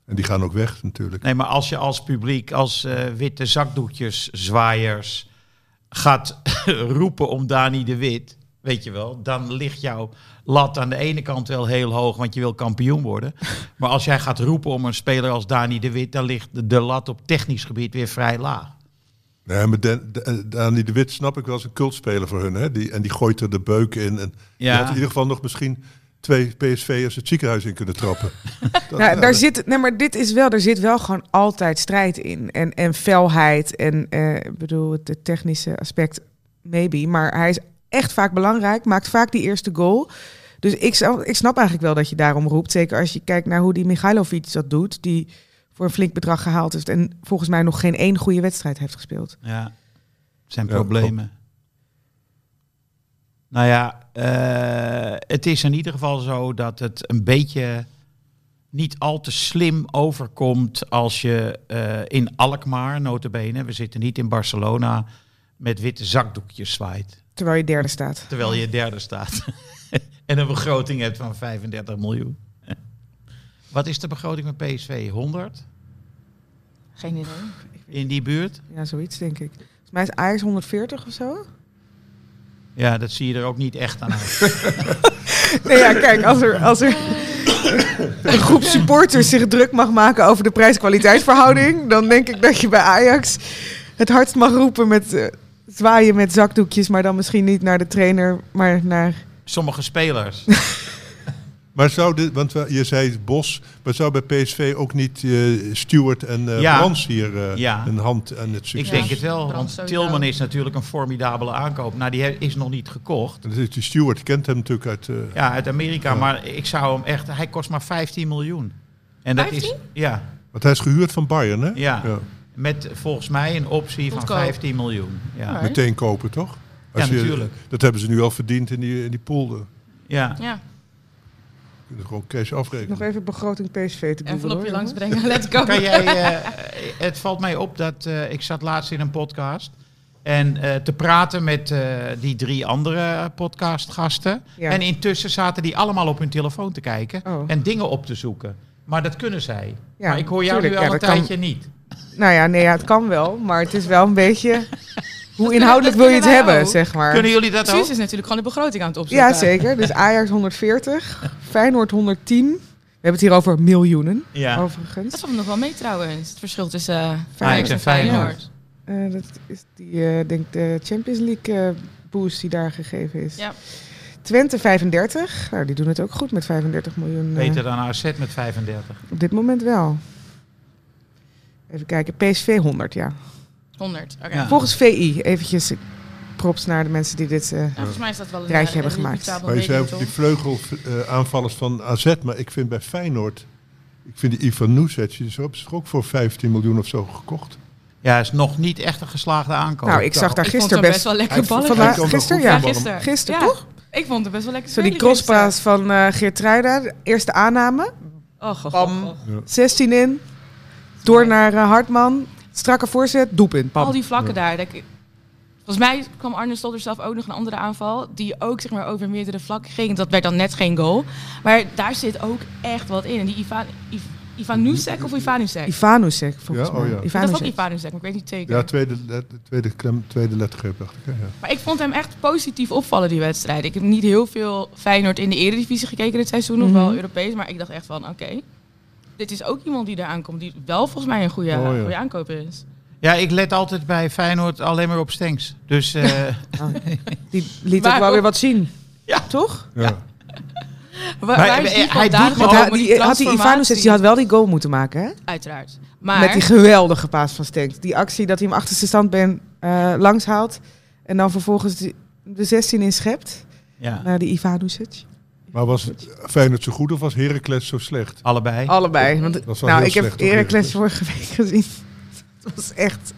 Speaker 5: En die gaan ook weg natuurlijk.
Speaker 2: Nee, maar als je als publiek, als eh, witte zakdoekjes, zwaaiers gaat roepen om Dani de Wit, weet je wel, dan ligt jouw lat aan de ene kant wel heel hoog, want je wil kampioen worden. Maar als jij gaat roepen om een speler als Dani de Wit, dan ligt de, de lat op technisch gebied weer vrij laag.
Speaker 5: Nee, maar Dan- Dan- Dani de Wit snap ik wel als een cultspeler voor hun. Hè? Die, en die gooit er de beuk in. En die
Speaker 2: Ja.
Speaker 5: had in ieder geval nog misschien twee PSV'ers het ziekenhuis in kunnen trappen. Dat-
Speaker 3: Nou,
Speaker 5: ja,
Speaker 3: daar
Speaker 5: dat-
Speaker 3: zit, nee, maar dit is wel, er zit wel gewoon altijd strijd in. En, en felheid en, eh, ik bedoel, het het technische aspect, maybe. Maar hij is echt vaak belangrijk, maakt vaak die eerste goal. Dus ik, zou- ik snap eigenlijk wel dat je daarom roept. Zeker als je kijkt naar hoe die Michailovic dat doet. Die voor een flink bedrag gehaald heeft. En volgens mij nog geen één goede wedstrijd heeft gespeeld.
Speaker 2: Ja, het zijn
Speaker 5: Ja,
Speaker 2: problemen. Nou ja, eh, het is in ieder geval zo dat het een beetje niet al te slim overkomt als je eh, in Alkmaar, notabene, we zitten niet in Barcelona, met witte zakdoekjes zwaait.
Speaker 3: Terwijl je derde staat.
Speaker 2: Terwijl je derde staat en een begroting hebt van 35 miljoen. Wat is de begroting van PSV? 100
Speaker 4: Geen idee.
Speaker 2: in die buurt?
Speaker 3: Ja, zoiets denk ik. Volgens mij is Ajax 140 of zo.
Speaker 2: Ja, dat zie je er ook niet echt aan uit.
Speaker 3: Nee, ja, kijk, als er, als er een groep supporters zich druk mag maken over de prijs-kwaliteitsverhouding, dan denk ik dat je bij Ajax het hardst mag roepen met eh, zwaaien met zakdoekjes, maar dan misschien niet naar de trainer, maar naar.
Speaker 2: sommige spelers.
Speaker 5: Maar zou dit, want we- je zei Bos, maar zou bij PSV ook niet eh Stewart en eh,
Speaker 2: Ja.
Speaker 5: Brans hier eh,
Speaker 2: Ja.
Speaker 5: een hand aan het succes?
Speaker 2: Ik denk het wel,
Speaker 4: Brand
Speaker 2: want
Speaker 4: sowieso.
Speaker 2: Tilman is natuurlijk een formidabele aankoop. Nou, die he- is nog niet gekocht.
Speaker 5: En dat is die Stewart kent hem natuurlijk uit. eh,
Speaker 2: Ja, uit Amerika, maar ik zou hem echt... Hij kost maar 15 miljoen. En dat is
Speaker 4: 15?
Speaker 2: ja,
Speaker 5: Want hij is gehuurd van Bayern, hè?
Speaker 2: Ja. met volgens mij een optie van
Speaker 4: Goedkoop.
Speaker 2: 15 miljoen. Ja.
Speaker 4: Alright.
Speaker 5: Meteen kopen, toch?
Speaker 2: Ja,
Speaker 5: je-
Speaker 2: natuurlijk.
Speaker 5: Dat hebben ze nu al verdiend in die, in die pool. eh.
Speaker 2: Ja.
Speaker 4: Ja,
Speaker 5: Kunnen ze gewoon cash afrekenen.
Speaker 3: Nog even begroting PSV te
Speaker 4: en
Speaker 3: googlen, hoor,
Speaker 4: je langs
Speaker 3: jongens.
Speaker 4: brengen. Let's go.
Speaker 2: Kan jij, eh, het valt mij op dat eh, ik zat laatst in een podcast en eh, te praten met eh, die drie andere podcastgasten.
Speaker 3: Ja.
Speaker 2: En intussen zaten die allemaal op hun telefoon te kijken
Speaker 3: Oh.
Speaker 2: en dingen op te zoeken. Maar dat kunnen zij.
Speaker 3: Ja,
Speaker 2: maar ik hoor jou
Speaker 3: tuurlijk.
Speaker 2: nu al
Speaker 3: Ja,
Speaker 2: een
Speaker 3: dat kan.
Speaker 2: tijdje niet.
Speaker 3: Nou ja, nee, ja, het kan wel, maar het is wel een beetje... Hoe inhoudelijk wil je het
Speaker 4: dat kunnen wij
Speaker 3: hebben,
Speaker 4: ook.
Speaker 3: zeg maar?
Speaker 2: Kunnen jullie dat ook?
Speaker 4: Suus is natuurlijk gewoon de begroting aan het opzoeken.
Speaker 3: Ja, zeker. Dus Ajax 140, Feyenoord 110. We hebben het hier over miljoenen,
Speaker 2: Ja.
Speaker 3: overigens.
Speaker 4: Dat valt me nog wel mee trouwens. Het verschil tussen eh
Speaker 2: Ajax en Ah, Feyenoord.
Speaker 3: Eh, dat is die, eh, denk de Champions League eh, boost die daar gegeven is.
Speaker 4: Ja.
Speaker 3: Twente 35. Nou, die doen het ook goed met 35 miljoen. eh,
Speaker 2: Beter dan AZ met 35.
Speaker 3: op dit moment wel. Even kijken. PSV 100, ja.
Speaker 4: 100. Oké. Nou,
Speaker 2: Ja.
Speaker 3: Volgens VI. Eventjes props naar de mensen die dit... eh,
Speaker 2: Oh,
Speaker 4: Nou, volgens mij is dat wel een
Speaker 3: Rijtje
Speaker 4: eh,
Speaker 3: hebben
Speaker 4: een
Speaker 3: gemaakt.
Speaker 4: reputabel
Speaker 5: Maar je zei
Speaker 4: medium,
Speaker 5: over die
Speaker 4: toch?
Speaker 5: vleugelaanvallers van AZ. Maar ik vind bij Feyenoord... Ik vind die Ivan Nusets, die is ook- is ook voor 15 miljoen of zo gekocht.
Speaker 2: Ja, is nog niet echt een geslaagde aankoop.
Speaker 3: nou, ik zag daar
Speaker 4: Ik vond
Speaker 3: gisteren
Speaker 4: hem best
Speaker 3: best...
Speaker 4: wel lekker
Speaker 5: Hij-
Speaker 4: ballen.
Speaker 5: Hij kan
Speaker 3: Vandaag,
Speaker 5: wel
Speaker 3: gisteren,
Speaker 5: goed
Speaker 3: ja.
Speaker 5: voetballen.
Speaker 4: Gisteren.
Speaker 3: Gisteren,
Speaker 4: Ja.
Speaker 3: toch?
Speaker 4: Ik vond het best wel lekker.
Speaker 3: Zo die
Speaker 4: spelen, die
Speaker 3: crosspaas van eh Geertruida. Eerste aanname.
Speaker 4: wedstrijd. Och, och,
Speaker 3: Bam.
Speaker 4: och, och.
Speaker 3: 16 in. Door naar eh, Hartman. Strakke voorzet. Doelpunt.
Speaker 4: Al
Speaker 3: Bam.
Speaker 4: die vlakken daar. dat ik- Volgens mij kwam Arne Stolder zelf ook nog een andere aanval. Die ook zeg maar, over meerdere vlakken ging. Dat werd dan net geen goal. Maar daar zit ook echt wat in. En die Ivan, Iv, Ivanusek of Ivanusek?
Speaker 3: Ivanusek, volgens
Speaker 5: Ja, oh
Speaker 3: mij.
Speaker 5: ja.
Speaker 4: Dat is
Speaker 3: Ivanusek.
Speaker 4: ook Ivanusek, maar ik weet niet zeker.
Speaker 5: Ja, tweede, let- tweede, klem- tweede lettergreep dacht ik. hè, Ja.
Speaker 4: Maar ik vond hem echt positief opvallen, die wedstrijd. Ik heb niet heel veel Feyenoord in de eredivisie gekeken dit seizoen. Of wel
Speaker 3: Mhm.
Speaker 4: Europees. Maar ik dacht echt van, oké. dit is ook iemand die daar aankomt. Die wel volgens mij een goede,
Speaker 5: Oh ja.
Speaker 4: goede aankoop is.
Speaker 2: Ja, ik let altijd bij Feyenoord alleen maar op Stenks. Dus eh,
Speaker 3: Die liet
Speaker 4: Maar
Speaker 3: ook Oh, wel
Speaker 4: ook-
Speaker 3: weer wat zien.
Speaker 2: Ja.
Speaker 3: Toch?
Speaker 5: Ja.
Speaker 4: Waar,
Speaker 2: Maar
Speaker 4: waar is die
Speaker 2: hij doet
Speaker 4: vandaan
Speaker 2: me-
Speaker 3: Want
Speaker 4: gekomen,
Speaker 3: hij, die, had die
Speaker 4: transformatie?
Speaker 3: Ivanusek die had wel die goal moeten maken, hè?
Speaker 4: Uiteraard. Maar...
Speaker 3: Met die geweldige paas van Stenks. Die actie dat hij hem achter zijn standbeen eh langs haalt. En dan vervolgens die- de 16 in schept.
Speaker 2: ja,
Speaker 3: Naar die Ivanusek.
Speaker 5: Maar was het Feyenoord zo goed of was Heracles zo slecht?
Speaker 2: allebei.
Speaker 3: Allebei. Want,
Speaker 5: was wel
Speaker 3: nou,
Speaker 5: heel
Speaker 3: ik heb
Speaker 5: slecht, hoor,
Speaker 3: Heracles
Speaker 5: Heracles.
Speaker 3: vorige week gezien. Het was echt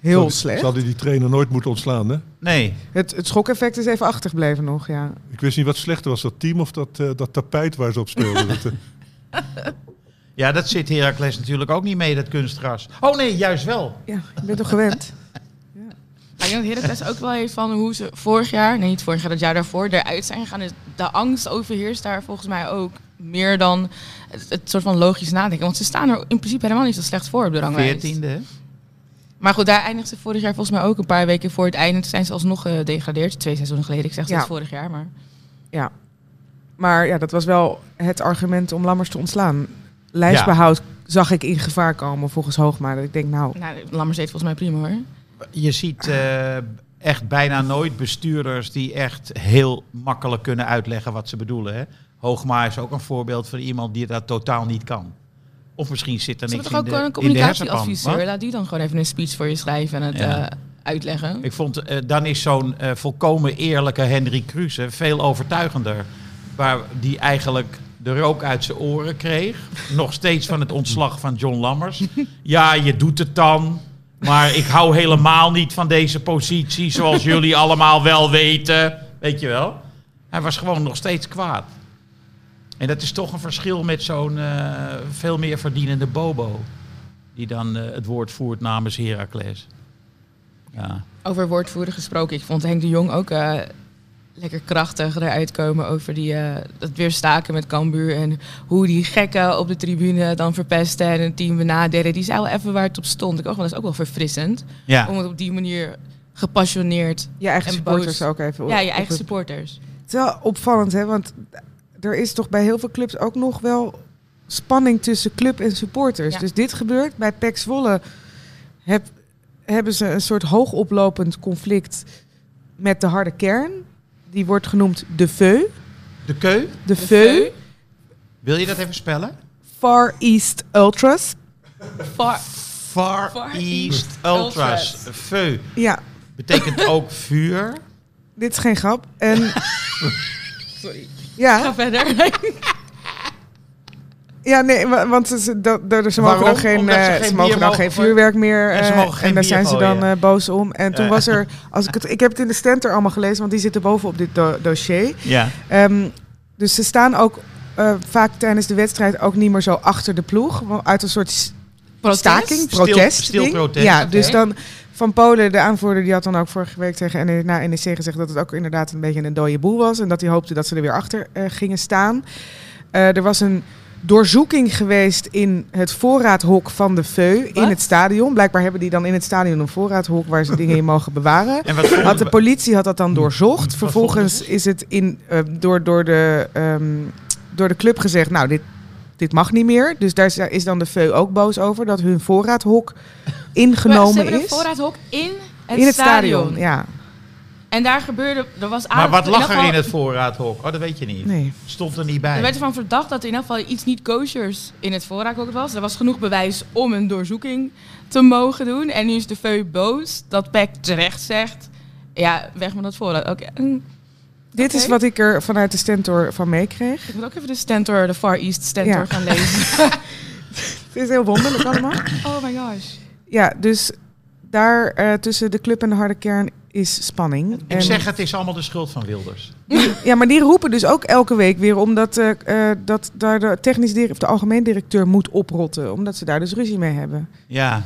Speaker 3: heel
Speaker 5: Zal-
Speaker 3: slecht.
Speaker 5: Zal hij die trainer nooit moeten ontslaan, hè?
Speaker 2: Nee,
Speaker 3: Het, het schokeffect is even achtergebleven nog, ja.
Speaker 5: Ik wist niet wat slechter was, dat team of dat, eh, dat tapijt waar ze op speelden. Dat, eh,
Speaker 2: ja, dat zit Heracles natuurlijk ook niet mee, dat kunstgras. Oh nee, juist wel.
Speaker 3: Ja, ik ben toch gewend.
Speaker 4: Maar ik denk dat Heracles ook wel heeft van hoe ze vorig jaar, nee niet vorig jaar, dat jaar daarvoor eruit zijn gegaan. Dus de angst overheerst daar volgens mij ook meer dan het, het soort van logisch nadenken. Want ze staan er in principe helemaal niet zo slecht voor op de ranglijst.
Speaker 2: Veertiende. hè?
Speaker 4: Maar goed, daar eindigden ze vorig jaar volgens mij ook een paar weken voor het einde. Toen zijn ze alsnog gedegradeerd. Twee seizoenen geleden, ik zeg
Speaker 3: Ja.
Speaker 4: dat vorig jaar. Maar
Speaker 3: Ja. Maar ja, dat was wel het argument om Lammers te ontslaan. Lijstbehoud zag ik in gevaar komen volgens Hoogma. Dat ik denk, nou,
Speaker 4: nou, Lammers deed volgens mij prima hoor.
Speaker 2: Je ziet eh, echt bijna nooit bestuurders die echt heel makkelijk kunnen uitleggen wat ze bedoelen. Hè? Hoogma is ook een voorbeeld van iemand die dat totaal niet kan. Of misschien zit er
Speaker 4: Ze hebben
Speaker 2: niks
Speaker 4: toch
Speaker 2: in
Speaker 4: ook
Speaker 2: de,
Speaker 4: gewoon een
Speaker 2: in de hersenpan.
Speaker 4: communicatieadviseur?
Speaker 2: Wat?
Speaker 4: Laat die dan gewoon even een speech voor je schrijven en het
Speaker 2: Ja.
Speaker 4: eh, uitleggen.
Speaker 2: Ik vond, eh, dan is zo'n eh, volkomen eerlijke Henry Kruse veel overtuigender. Waar die eigenlijk de rook uit zijn oren kreeg. Nog steeds van het ontslag van John Lammers. Ja, je doet het dan. Maar ik hou helemaal niet van deze positie, zoals jullie allemaal wel weten. Weet je wel? Hij was gewoon nog steeds kwaad. En dat is toch een verschil met zo'n eh, veel meer verdienende Bobo. Die dan eh, het woord voert namens Heracles. Ja.
Speaker 4: Over woordvoerder gesproken, ik vond Henk de Jong ook eh, lekker krachtig eruit komen over die, eh, dat weer staken met Cambuur. En hoe die gekken op de tribune dan verpesten en het team benaderen. Die zei wel even waar het op stond. Ik ook, dat is ook wel verfrissend.
Speaker 2: Ja.
Speaker 4: Om het op die manier gepassioneerd.
Speaker 3: je eigen
Speaker 4: En
Speaker 3: supporters
Speaker 4: boos.
Speaker 3: ook even.
Speaker 4: Ja, je
Speaker 3: op- op
Speaker 4: eigen
Speaker 3: het-
Speaker 4: supporters.
Speaker 3: Het is wel opvallend, hè? Want er is toch bij heel veel clubs ook nog wel spanning tussen club en supporters.
Speaker 4: Ja.
Speaker 3: Dus dit gebeurt bij PEC Zwolle. Heb, hebben ze een soort hoogoplopend conflict met de harde kern. Die wordt genoemd de feu.
Speaker 2: De keu?
Speaker 3: De, feu.
Speaker 2: Wil je dat even spellen?
Speaker 3: Far East Ultras.
Speaker 4: Far-
Speaker 2: Far,
Speaker 4: Far
Speaker 2: East
Speaker 4: East
Speaker 2: Ultras.
Speaker 4: Ultras.
Speaker 2: Feu.
Speaker 3: Ja,
Speaker 2: Betekent ook vuur.
Speaker 3: dit is geen grap. En
Speaker 4: Sorry, ga
Speaker 3: ja,
Speaker 4: verder.
Speaker 3: ja, nee, wa- want ze- ze, dat, daar- ze mogen
Speaker 2: Waarom?
Speaker 3: dan geen,
Speaker 2: Omdat ze
Speaker 3: eh,
Speaker 2: geen
Speaker 3: ze mogen
Speaker 2: bier
Speaker 3: dan
Speaker 2: mogen
Speaker 3: geen
Speaker 2: voor-
Speaker 3: vuurwerk meer.
Speaker 2: En ze
Speaker 3: eh,
Speaker 2: mogen geen
Speaker 3: en daar
Speaker 2: bier
Speaker 3: zijn ze
Speaker 2: gooien.
Speaker 3: dan eh, boos om. En toen
Speaker 2: Ja.
Speaker 3: was er, als ik het, ik heb het in de stand er allemaal gelezen, want die zitten bovenop dit do- dossier.
Speaker 2: Ja.
Speaker 3: Ehm, dus ze staan ook eh, vaak tijdens de wedstrijd ook niet meer zo achter de ploeg. wa- Uit een soort s- staking,
Speaker 2: Stil-
Speaker 3: protest.
Speaker 2: stil
Speaker 3: ding.
Speaker 2: protest,
Speaker 3: Ja,
Speaker 2: oké.
Speaker 3: dus dan van Polen, de aanvoerder, die had dan ook vorige week tegen NEC na NEC gezegd dat het ook inderdaad een beetje een dode boel was. En dat hij hoopte dat ze er weer achter eh, gingen staan. Eh, er was een doorzoeking geweest in het voorraadhok van de VEU
Speaker 4: Wat?
Speaker 3: in het stadion. Blijkbaar hebben die dan in het stadion een voorraadhok waar ze dingen in mogen bewaren.
Speaker 2: En wat vonden
Speaker 3: Had de
Speaker 2: we-
Speaker 3: politie had dat dan doorzocht.
Speaker 2: volgens
Speaker 3: Vervolgens is het in, eh, door, door, de, ehm, door de club gezegd, nou, dit, dit mag niet meer. Dus daar is- daar is dan de VEU ook boos over, dat hun voorraadhok
Speaker 4: Ze
Speaker 3: ingenomen
Speaker 4: hebben een
Speaker 3: is.
Speaker 4: voorraadhok in het,
Speaker 3: in het
Speaker 4: stadion.
Speaker 3: stadion, ja.
Speaker 4: En daar gebeurde, er was
Speaker 2: Maar
Speaker 4: aardig-
Speaker 2: wat lag er
Speaker 4: ieder Ah, geval-
Speaker 2: in het voorraadhok? Oh, dat weet je niet.
Speaker 3: Nee.
Speaker 2: Stond er niet
Speaker 4: Er
Speaker 2: bij.
Speaker 4: werd ervan verdacht dat er in ieder geval iets niet koshers in het voorraadhok was. Er was genoeg bewijs om een doorzoeking te mogen doen. En nu is de VEU boos dat PEC terecht zegt... Ja, weg met dat voorraad. Oké, mm.
Speaker 3: Dit is
Speaker 4: Oké.
Speaker 3: wat ik er vanuit de stentor van meekreeg.
Speaker 4: ik moet ook even de Stentor, de Far East Stentor
Speaker 3: Ja.
Speaker 4: gaan lezen.
Speaker 3: Het is heel wonderlijk allemaal.
Speaker 4: Oh my gosh.
Speaker 3: Ja, dus daar eh, tussen de club en de harde kern is spanning.
Speaker 2: Ik
Speaker 3: En-
Speaker 2: zeg, het is allemaal de schuld van Wilders.
Speaker 3: Ja, maar die roepen dus ook elke week weer omdat eh, eh, dat daar de technisch directeur of de algemeen directeur moet oprotten, omdat ze daar dus ruzie mee hebben.
Speaker 2: Ja.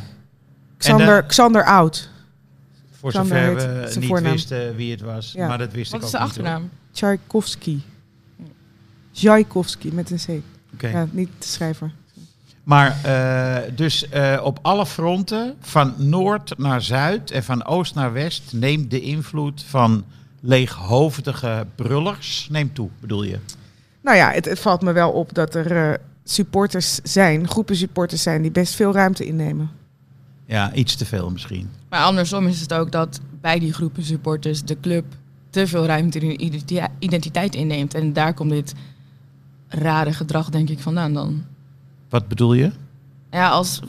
Speaker 3: Xander,
Speaker 2: En,
Speaker 3: Xander Oud,
Speaker 2: Voor
Speaker 3: Xander
Speaker 2: zover
Speaker 3: heet
Speaker 2: we
Speaker 3: zijn
Speaker 2: niet
Speaker 3: voornaam.
Speaker 2: wisten wie het was.
Speaker 3: Ja.
Speaker 2: Maar dat wist
Speaker 4: Wat
Speaker 2: ik
Speaker 4: is
Speaker 2: ook
Speaker 4: de
Speaker 2: niet, hoor.
Speaker 4: achternaam?
Speaker 3: Tchaikovsky. Tchaikovsky met een C.
Speaker 2: Oké.
Speaker 3: Ja, niet de schrijver.
Speaker 2: Maar eh, dus eh, op alle fronten, van noord naar zuid en van oost naar west, neemt de invloed van leeghoofdige brullers neemt toe, bedoel je?
Speaker 3: Nou ja, het, het valt me wel op dat er eh, supporters zijn, groepen supporters zijn die best veel ruimte innemen.
Speaker 2: Ja, iets te veel misschien.
Speaker 4: Maar andersom is het ook dat bij die groepen supporters de club te veel ruimte in hun identi- identiteit inneemt. En daar komt dit rare gedrag denk ik vandaan dan.
Speaker 2: Wat bedoel je?
Speaker 4: Ja, als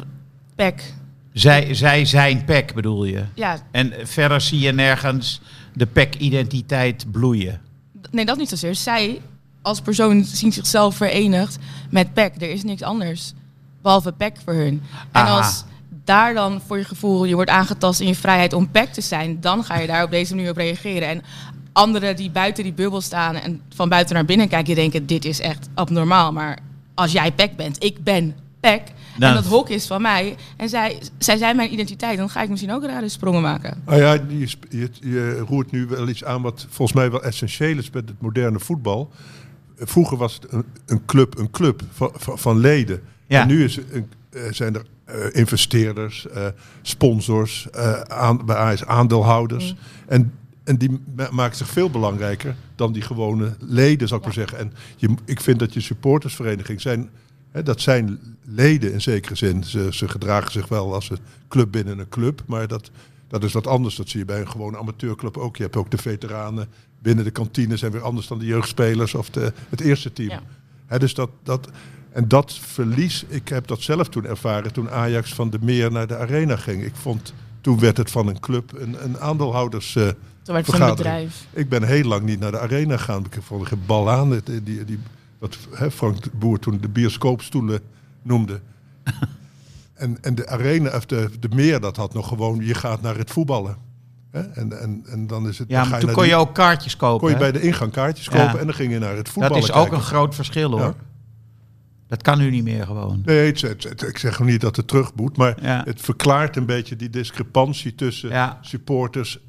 Speaker 4: PEC.
Speaker 2: Zij, zij zijn pek, bedoel je?
Speaker 4: Ja,
Speaker 2: En verder zie je nergens de PEC-identiteit bloeien.
Speaker 4: d- nee, dat niet zozeer. Zij als persoon zien zichzelf verenigd met PEC. Er is niks anders behalve PEC voor hun. En
Speaker 2: Aha.
Speaker 4: als daar dan voor je gevoel je wordt aangetast in je vrijheid om PEC te zijn, dan ga je daar op deze manier op reageren. En anderen die buiten die bubbel staan en van buiten naar binnen kijken, die denken dit is echt abnormaal. Maar als jij PEC bent, ik ben PEC.
Speaker 2: Nou.
Speaker 4: En dat hok is van mij. En zij, zij zijn mijn identiteit. Dan ga ik misschien ook rare sprongen maken.
Speaker 5: Nou ja, je, sp- je, je roert nu wel iets aan wat volgens mij wel essentieel is met het moderne voetbal. Vroeger was het een, een club, een club van, van, van leden.
Speaker 2: Ja.
Speaker 5: En nu is het een, eh, zijn er eh, investeerders, eh, sponsors, eh, aan, bij AS aandeelhouders. En, en die ma- maken zich veel belangrijker dan die gewone leden, zou ik maar zeggen. En je, m- ik vind dat je supportersvereniging zijn, hè, dat zijn leden in zekere zin. Ze, ze gedragen zich wel als een club binnen een club, maar dat, dat is wat anders. Dat zie je bij een gewone amateurclub ook. Je hebt ook de veteranen binnen de kantine zijn weer anders dan de jeugdspelers of de, het eerste team.
Speaker 4: Ja.
Speaker 5: Hè, dus dat, dat, en dat verlies, ik heb dat zelf toen ervaren toen Ajax van de Meer naar de Arena ging. Ik vond, toen werd het van een club een, een aandeelhouders... eh,
Speaker 4: Toen werd het van een
Speaker 5: Vergadering.
Speaker 4: bedrijf.
Speaker 5: ik ben heel lang niet naar de arena gegaan. Ik vond er geen bal aan. Het- eh, Die, die, wat hè, Frank de Boer toen de bioscoopstoelen noemde. en, en de arena, of de, de meer, dat had nog gewoon... Je gaat naar het voetballen. Hè? En, en, en dan is het...
Speaker 2: Ja,
Speaker 5: dan
Speaker 2: maar
Speaker 5: ga
Speaker 2: toen
Speaker 5: naar
Speaker 2: kon je
Speaker 5: die-
Speaker 2: ook kaartjes kopen.
Speaker 5: kon je
Speaker 2: hè?
Speaker 5: bij de ingang kaartjes
Speaker 2: Ja.
Speaker 5: kopen en dan ging je naar het
Speaker 2: Dat
Speaker 5: voetballen
Speaker 2: is ook
Speaker 5: kijken.
Speaker 2: een groot verschil hoor.
Speaker 5: Ja.
Speaker 2: Dat kan nu niet meer gewoon.
Speaker 5: Nee, het, het- het- ik zeg niet dat het terug moet, maar
Speaker 2: Ja.
Speaker 5: het verklaart een beetje die discrepantie tussen
Speaker 2: Ja.
Speaker 5: supporters,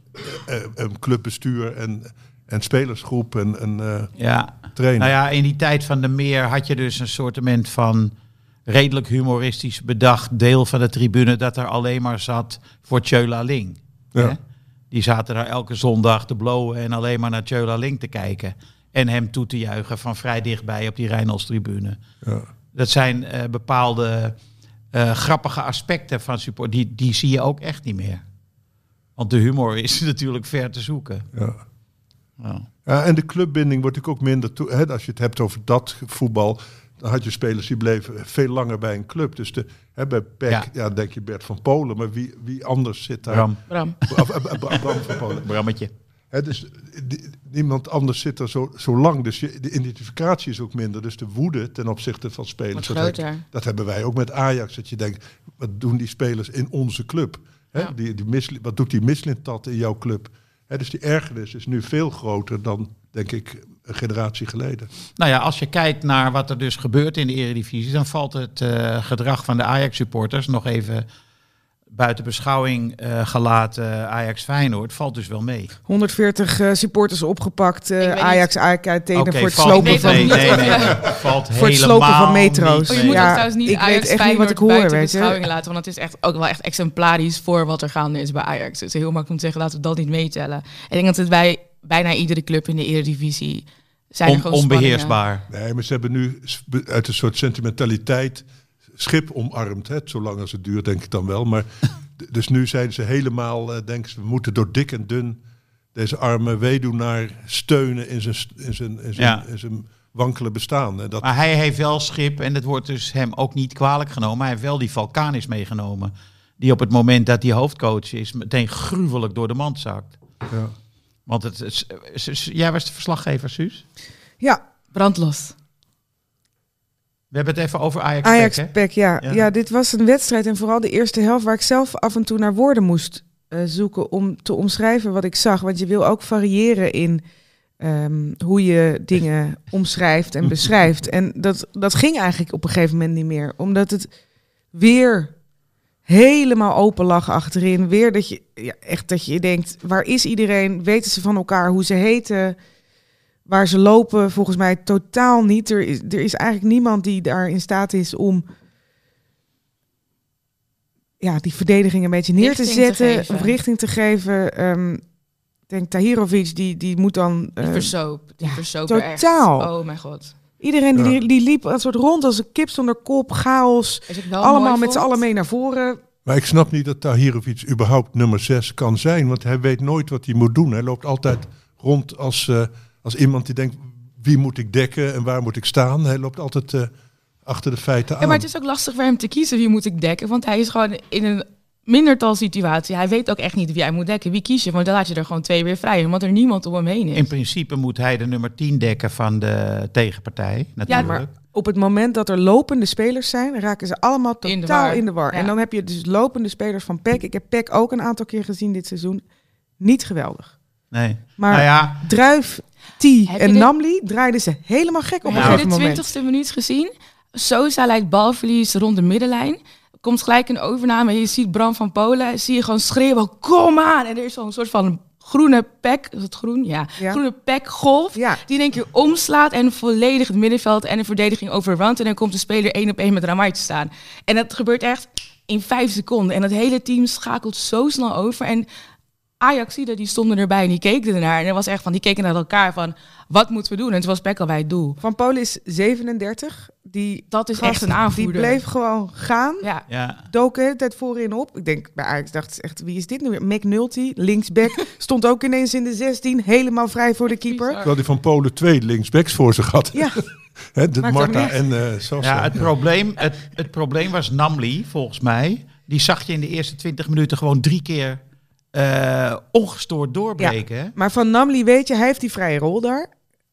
Speaker 5: eh, eh, eh, clubbestuur en, en spelersgroep en, en eh,
Speaker 2: Ja.
Speaker 5: trainer.
Speaker 2: Nou ja, in die tijd van de meer had je dus een soortement van redelijk humoristisch bedacht deel van de tribune dat er alleen maar zat voor Tjöla Ling.
Speaker 5: Ja.
Speaker 2: Hè? Die zaten daar elke zondag te blowen en alleen maar naar Tjöla Ling te kijken. En hem toe te juichen van vrij dichtbij op die Rijnholdstribune.
Speaker 5: Ja.
Speaker 2: Dat zijn eh, bepaalde eh, grappige aspecten van support. Die, die zie je ook echt niet meer. Want de humor is natuurlijk ver te zoeken.
Speaker 5: Ja.
Speaker 2: Ja.
Speaker 5: Ja, en de clubbinding wordt natuurlijk ook minder toe. Hè, als je het hebt over dat voetbal. Dan had je spelers die bleven veel langer bij een club. Dus de, hè, bij PEC, ja.
Speaker 2: Ja.
Speaker 5: denk je Bert van Polen. Maar wie, wie anders zit daar?
Speaker 2: Bram,
Speaker 4: Bram.
Speaker 5: Of, eh, Bra- Bram van Polen.
Speaker 2: Brammetje.
Speaker 5: Hè, dus die- niemand anders zit er zo, zo lang. Dus je, de identificatie is ook minder. Dus de woede ten opzichte van spelers.
Speaker 4: Wordt
Speaker 5: dat heb-
Speaker 4: groter.
Speaker 5: Dat hebben wij ook met Ajax. Dat je denkt, wat doen die spelers in onze club? Hè,
Speaker 4: Ja.
Speaker 5: die, die mis, wat doet die mislintat in jouw club? Hè, dus die ergernis is nu veel groter dan, denk ik, een generatie geleden.
Speaker 2: Nou ja, als je kijkt naar wat er dus gebeurt in de Eredivisie, dan valt het eh, gedrag van de Ajax-supporters nog even buiten beschouwing eh, gelaten. Ajax-Feyenoord valt dus wel mee.
Speaker 3: 140 eh, supporters opgepakt, eh,
Speaker 4: Ik weet niet.
Speaker 3: Ajax, AEK, Tenen
Speaker 2: Oké,
Speaker 3: voor het
Speaker 2: valt
Speaker 3: slopen
Speaker 2: niet
Speaker 4: weet
Speaker 3: van...
Speaker 4: het
Speaker 2: mee.
Speaker 4: niet.
Speaker 2: Nee, nee, nee. Valt
Speaker 3: Voor het slopen van
Speaker 2: helemaal
Speaker 3: metro's.
Speaker 2: niet
Speaker 4: Oh, je
Speaker 2: mee.
Speaker 4: moet
Speaker 3: Ja,
Speaker 4: ook trouwens niet
Speaker 3: ik weet
Speaker 4: Ajax
Speaker 3: echt niet wat ik
Speaker 4: Feyenoord
Speaker 3: hoor,
Speaker 4: buiten
Speaker 3: weet je.
Speaker 4: beschouwing laten. Want dat is echt ook wel echt exemplarisch voor wat er gaande is bij Ajax. Het is heel makkelijk om te zeggen, laten we dat niet meetellen. Ik denk dat het bij bijna iedere club in de Eredivisie zijn er
Speaker 2: On-
Speaker 4: gewoon spanningen.
Speaker 2: onbeheersbaar.
Speaker 5: Nee, maar ze hebben nu s- be- uit een soort sentimentaliteit schip omarmd. Hè? Zolang als het duurt, denk ik dan wel. Maar d- dus nu zijn ze helemaal, eh, denken ze, we moeten door dik en dun deze arme weduwnaar steunen in zijn, st- in zijn, in zijn,
Speaker 2: Ja.
Speaker 5: in zijn wankele bestaan. En dat,
Speaker 2: Maar hij heeft wel schip, en het wordt dus hem ook niet kwalijk genomen. Hij heeft wel die Valkanis meegenomen. Die op het moment dat hij hoofdcoach is, meteen gruwelijk door de mand zakt.
Speaker 5: ja.
Speaker 2: Want het, is- is- is- jij was de verslaggever, Suus.
Speaker 3: Ja,
Speaker 4: Brandlos.
Speaker 2: We hebben het even over Ajax.
Speaker 3: Ajax,
Speaker 2: hè?
Speaker 3: PEC, ja.
Speaker 2: Ja.
Speaker 3: ja. dit was een wedstrijd en vooral de eerste helft... waar ik zelf af en toe naar woorden moest eh, zoeken om te omschrijven wat ik zag. Want je wil ook variëren in ehm, hoe je dingen omschrijft en beschrijft. En dat, dat ging eigenlijk op een gegeven moment niet meer. Omdat het weer helemaal open lag achterin. Weer dat je, ja, echt dat je denkt, waar is iedereen? Weten ze van elkaar hoe ze heten? Waar ze lopen? Volgens mij totaal niet. Er is, er is eigenlijk niemand die daar in staat is om... Ja, die verdediging een beetje neer
Speaker 4: Richting
Speaker 3: te
Speaker 4: te
Speaker 3: zetten,
Speaker 4: geven.
Speaker 3: of richting te geven. Ehm, ik denk Tahirovic, die, die moet dan...
Speaker 4: Die
Speaker 3: eh,
Speaker 4: versoop. Die versoop er echt.
Speaker 3: totaal.
Speaker 4: Oh mijn god.
Speaker 3: iedereen die,
Speaker 5: Ja.
Speaker 3: die liep een soort rond als een kip zonder kop, chaos.
Speaker 4: Weet je wat ik wel
Speaker 3: allemaal
Speaker 4: mooi
Speaker 3: met z'n
Speaker 4: vond?
Speaker 3: allen mee naar voren.
Speaker 5: Maar ik snap niet dat Tahirovic überhaupt nummer 6 kan zijn. Want hij weet nooit wat hij moet doen. Hij loopt altijd rond als, eh, als iemand die denkt, wie moet ik dekken en waar moet ik staan? Hij loopt altijd eh, achter de feiten aan.
Speaker 4: Ja, maar het is ook lastig voor hem te kiezen wie moet ik dekken. Want hij is gewoon in een mindertal situatie. Hij weet ook echt niet wie hij moet dekken. Wie kies je? Want dan laat je er gewoon twee weer vrij. Omdat er niemand om hem heen is.
Speaker 2: In principe moet hij de nummer 10 dekken van de tegenpartij. Natuurlijk.
Speaker 4: maar-
Speaker 3: Op het moment dat er lopende spelers zijn, raken ze allemaal totaal
Speaker 4: In de
Speaker 3: in de
Speaker 4: war.
Speaker 3: war.
Speaker 4: Ja.
Speaker 3: En dan heb je dus lopende spelers van PEC. Ik heb PEC ook een aantal keer gezien dit seizoen. Niet geweldig.
Speaker 2: Nee.
Speaker 3: Maar
Speaker 2: Nou ja,
Speaker 3: Druif, T
Speaker 4: Heb je
Speaker 3: en
Speaker 4: dit-
Speaker 3: Namli draaiden ze helemaal gek op een
Speaker 4: Heb je
Speaker 3: gegeven
Speaker 4: de
Speaker 3: moment.
Speaker 4: twintigste minuut gezien? Sosa leidt balverlies rond de middenlijn. Komt gelijk een overname. Je ziet Bram van Polen. Zie je gewoon schreeuwen, kom aan. En er is zo'n soort van groene pek. Is het groen? Ja.
Speaker 3: Ja.
Speaker 4: Groene pek golf.
Speaker 3: Ja.
Speaker 4: Die in één keer omslaat en volledig het middenveld en de verdediging overrunt. En dan komt de speler één op één met Ramai te staan. En dat gebeurt echt in vijf seconden. En dat hele team schakelt zo snel over. En Ajax die stonden erbij en die keken ernaar. En er was echt van, die keken naar elkaar van, wat moeten we doen? En toen was Pek al bij het doel.
Speaker 3: Van Polen is 37. Die
Speaker 4: Dat is
Speaker 3: gast,
Speaker 4: echt een aanvoerder.
Speaker 3: Die bleef gewoon gaan.
Speaker 4: Ja.
Speaker 2: ja.
Speaker 3: Dook de hele tijd voorin op. Ik denk bij Ajax dacht ze echt, wie is dit nu weer? McNulty, linksback, stond ook ineens in de 16. Helemaal vrij voor de keeper.
Speaker 5: Terwijl hij van Polen twee linksbacks voor zich had.
Speaker 3: Ja,
Speaker 5: Hè, de
Speaker 3: Maakt
Speaker 5: Marta
Speaker 3: ook
Speaker 5: en eh Sosa.
Speaker 2: ja het, probleem, het, het probleem was Namli, volgens mij. Die zag je in de eerste 20 minuten gewoon drie keer eh, ongestoord doorbreken. hè?
Speaker 3: Maar van Namli weet je, hij heeft die vrije rol daar.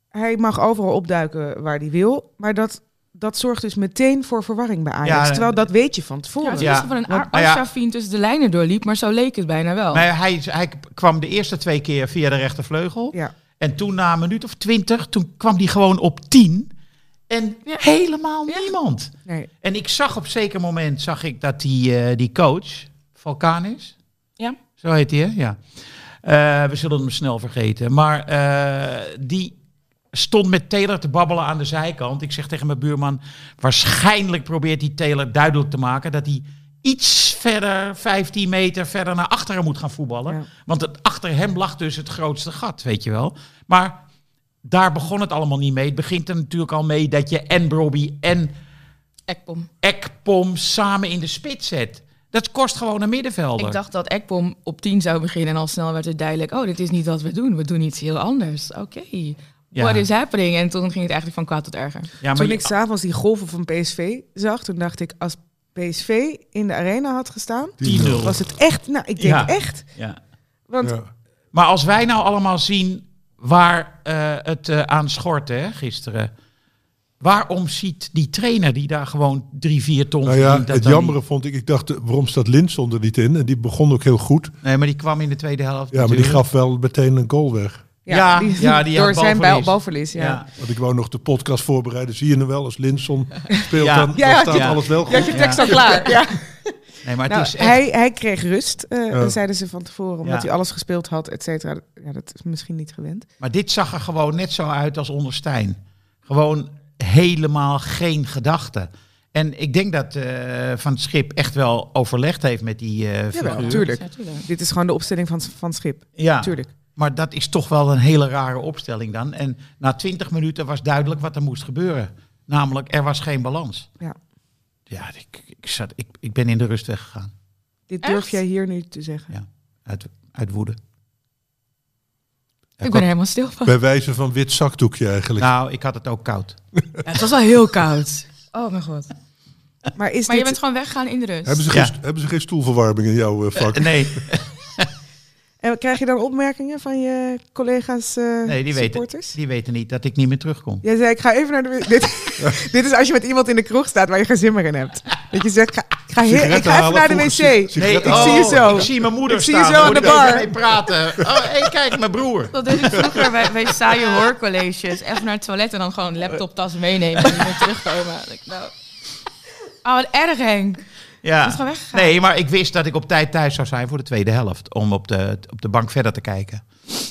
Speaker 3: Hij mag overal opduiken waar hij wil. Maar dat, dat zorgt dus meteen voor verwarring bij Ajax.
Speaker 2: Ja, en-
Speaker 3: terwijl dat weet je van
Speaker 4: Ja,
Speaker 3: tevoren.
Speaker 4: het
Speaker 2: Ja.
Speaker 4: was van een
Speaker 2: Want-
Speaker 4: Ar-
Speaker 2: nou ja.
Speaker 4: Arshavin tussen de lijnen doorliep, maar zo leek het bijna wel.
Speaker 2: Maar hij, hij kwam de eerste twee keer via de rechtervleugel.
Speaker 3: Ja.
Speaker 2: En toen na een minuut of twintig, toen kwam hij gewoon op tien. En
Speaker 4: Ja.
Speaker 2: helemaal
Speaker 4: Ja.
Speaker 2: niemand.
Speaker 3: Nee.
Speaker 2: En ik zag op zeker moment zag ik dat die, eh, die coach, Valkanis,
Speaker 4: Ja.
Speaker 2: zo heet hij, hè? ja. Eh, we zullen hem snel vergeten. Maar eh, die stond met Taylor te babbelen aan de zijkant. Ik zeg tegen mijn buurman, waarschijnlijk probeert die Taylor duidelijk te maken dat hij iets verder, 15 meter verder naar achteren moet gaan voetballen.
Speaker 3: Ja.
Speaker 2: Want het, achter hem lag dus het grootste gat, weet je wel. Maar daar begon het allemaal niet mee. Het begint er natuurlijk al mee dat je en Robbie en
Speaker 4: Ekpom.
Speaker 2: Ekpom samen in de spits zet. Dat kost gewoon een middenvelder.
Speaker 4: Ik dacht dat Ekpom op 10 zou beginnen en al snel werd het duidelijk, oh, dit is niet wat we doen. We doen iets heel anders. Oké,
Speaker 2: Ja.
Speaker 4: what is happening? En toen ging het eigenlijk van kwaad tot erger.
Speaker 2: Ja, maar
Speaker 3: Toen
Speaker 2: je-
Speaker 3: ik s'avonds die golven van PSV zag, toen dacht ik, als PSV in de arena had gestaan,
Speaker 2: 10-0.
Speaker 3: was het echt, nou, ik denk
Speaker 2: Ja.
Speaker 3: echt.
Speaker 2: ja.
Speaker 3: Want
Speaker 5: eh, Ja.
Speaker 2: Maar als wij nou allemaal zien waar eh, het eh, aan schort hè, gisteren. Waarom ziet die trainer die daar gewoon drie, vier ton
Speaker 5: Nou ja,
Speaker 2: verdient dat
Speaker 5: het
Speaker 2: dan
Speaker 5: jammere vond ik, ik dacht, eh, waarom staat Linson er niet in? En die begon ook heel goed.
Speaker 2: niet? Nee, maar die kwam in de tweede helft.
Speaker 5: Ja, maar die
Speaker 2: natuurlijk.
Speaker 5: gaf wel meteen een goal weg.
Speaker 3: ja,
Speaker 2: Ja,
Speaker 3: die,
Speaker 2: ja, die had
Speaker 3: door zijn
Speaker 2: balverlies.
Speaker 3: bal- balverlies. Ja.
Speaker 2: Ja.
Speaker 5: Want ik wou nog de podcast voorbereiden. Zie je nou wel, als Linson speelt,
Speaker 2: Ja.
Speaker 5: dan, dan
Speaker 3: Ja, ja,
Speaker 5: staat
Speaker 2: ja.
Speaker 5: alles wel
Speaker 3: Je had
Speaker 5: goed.
Speaker 3: je tekst al klaar. Ja.
Speaker 2: Nee, maar het
Speaker 3: Nou,
Speaker 2: is echt-
Speaker 3: hij, hij kreeg rust, eh,
Speaker 5: Ja.
Speaker 3: zeiden ze van tevoren, omdat
Speaker 2: Ja.
Speaker 3: hij alles gespeeld had, et cetera. Ja, dat is misschien niet gewend.
Speaker 2: Maar dit zag er gewoon net zo uit als onder Stijn. Gewoon helemaal geen gedachten. En ik denk dat eh, Van het Schip echt wel overlegd heeft met die eh
Speaker 3: Jawel,
Speaker 2: figuur.
Speaker 3: tuurlijk.
Speaker 4: Ja, tuurlijk.
Speaker 3: Dit is gewoon de opstelling van, van het Schip,
Speaker 2: Ja,
Speaker 3: tuurlijk.
Speaker 2: maar dat is toch wel een hele rare opstelling dan. En na twintig minuten was duidelijk wat er moest gebeuren. Namelijk, er was geen balans.
Speaker 3: Ja.
Speaker 2: Ja, ik, ik, zat, ik, ik ben in de rust weggegaan.
Speaker 3: Dit
Speaker 4: Echt?
Speaker 3: durf jij hier nu te zeggen.
Speaker 2: Uit, uit woede.
Speaker 4: Ik ben er helemaal stil van.
Speaker 5: Bij wijze van wit zakdoekje eigenlijk.
Speaker 2: Nou, ik had het ook koud.
Speaker 4: Ja, het was wel heel koud. Oh mijn god.
Speaker 3: Maar is
Speaker 4: Maar je
Speaker 3: dit...
Speaker 4: bent gewoon weggegaan in de rust.
Speaker 5: hebben, ze
Speaker 2: Ja.
Speaker 5: geen, st- hebben ze geen stoelverwarming in jouw eh, vak?
Speaker 2: Nee,
Speaker 3: En krijg je dan opmerkingen van je collega's, eh
Speaker 2: nee die, weten,
Speaker 3: supporters?
Speaker 2: die weten niet dat ik niet meer terugkom.
Speaker 3: Jij zei, ik ga even naar de... Dit, dit is als je met iemand in de kroeg staat waar je geen zin meer in hebt. Dat je zegt, ik ga, ik ga, heel- ik
Speaker 5: Sigaretten
Speaker 3: ga even naar
Speaker 5: halen,
Speaker 3: de
Speaker 5: vroeger
Speaker 3: wc.
Speaker 5: sig- sigaretten
Speaker 3: ik
Speaker 5: halen.
Speaker 3: zie je zo.
Speaker 2: Ik zie mijn moeder
Speaker 3: Oh. Ik zie je
Speaker 2: staan.
Speaker 3: zo
Speaker 2: dan moet
Speaker 3: aan de
Speaker 2: ik
Speaker 3: bar.
Speaker 2: even mee praten. Oh, hey, kijk, mijn broer.
Speaker 4: Dat deed ik vroeger bij, bij saaie hoorcolleges. Even naar het toilet en dan gewoon laptoptas meenemen en weer terugkomen. Ik, nou. Oh, wat erg Henk.
Speaker 2: Ja.
Speaker 4: is gewoon weggegaan.
Speaker 2: Nee, maar ik wist dat ik op tijd thuis zou zijn voor de tweede helft. Om op de, op de bank verder te kijken.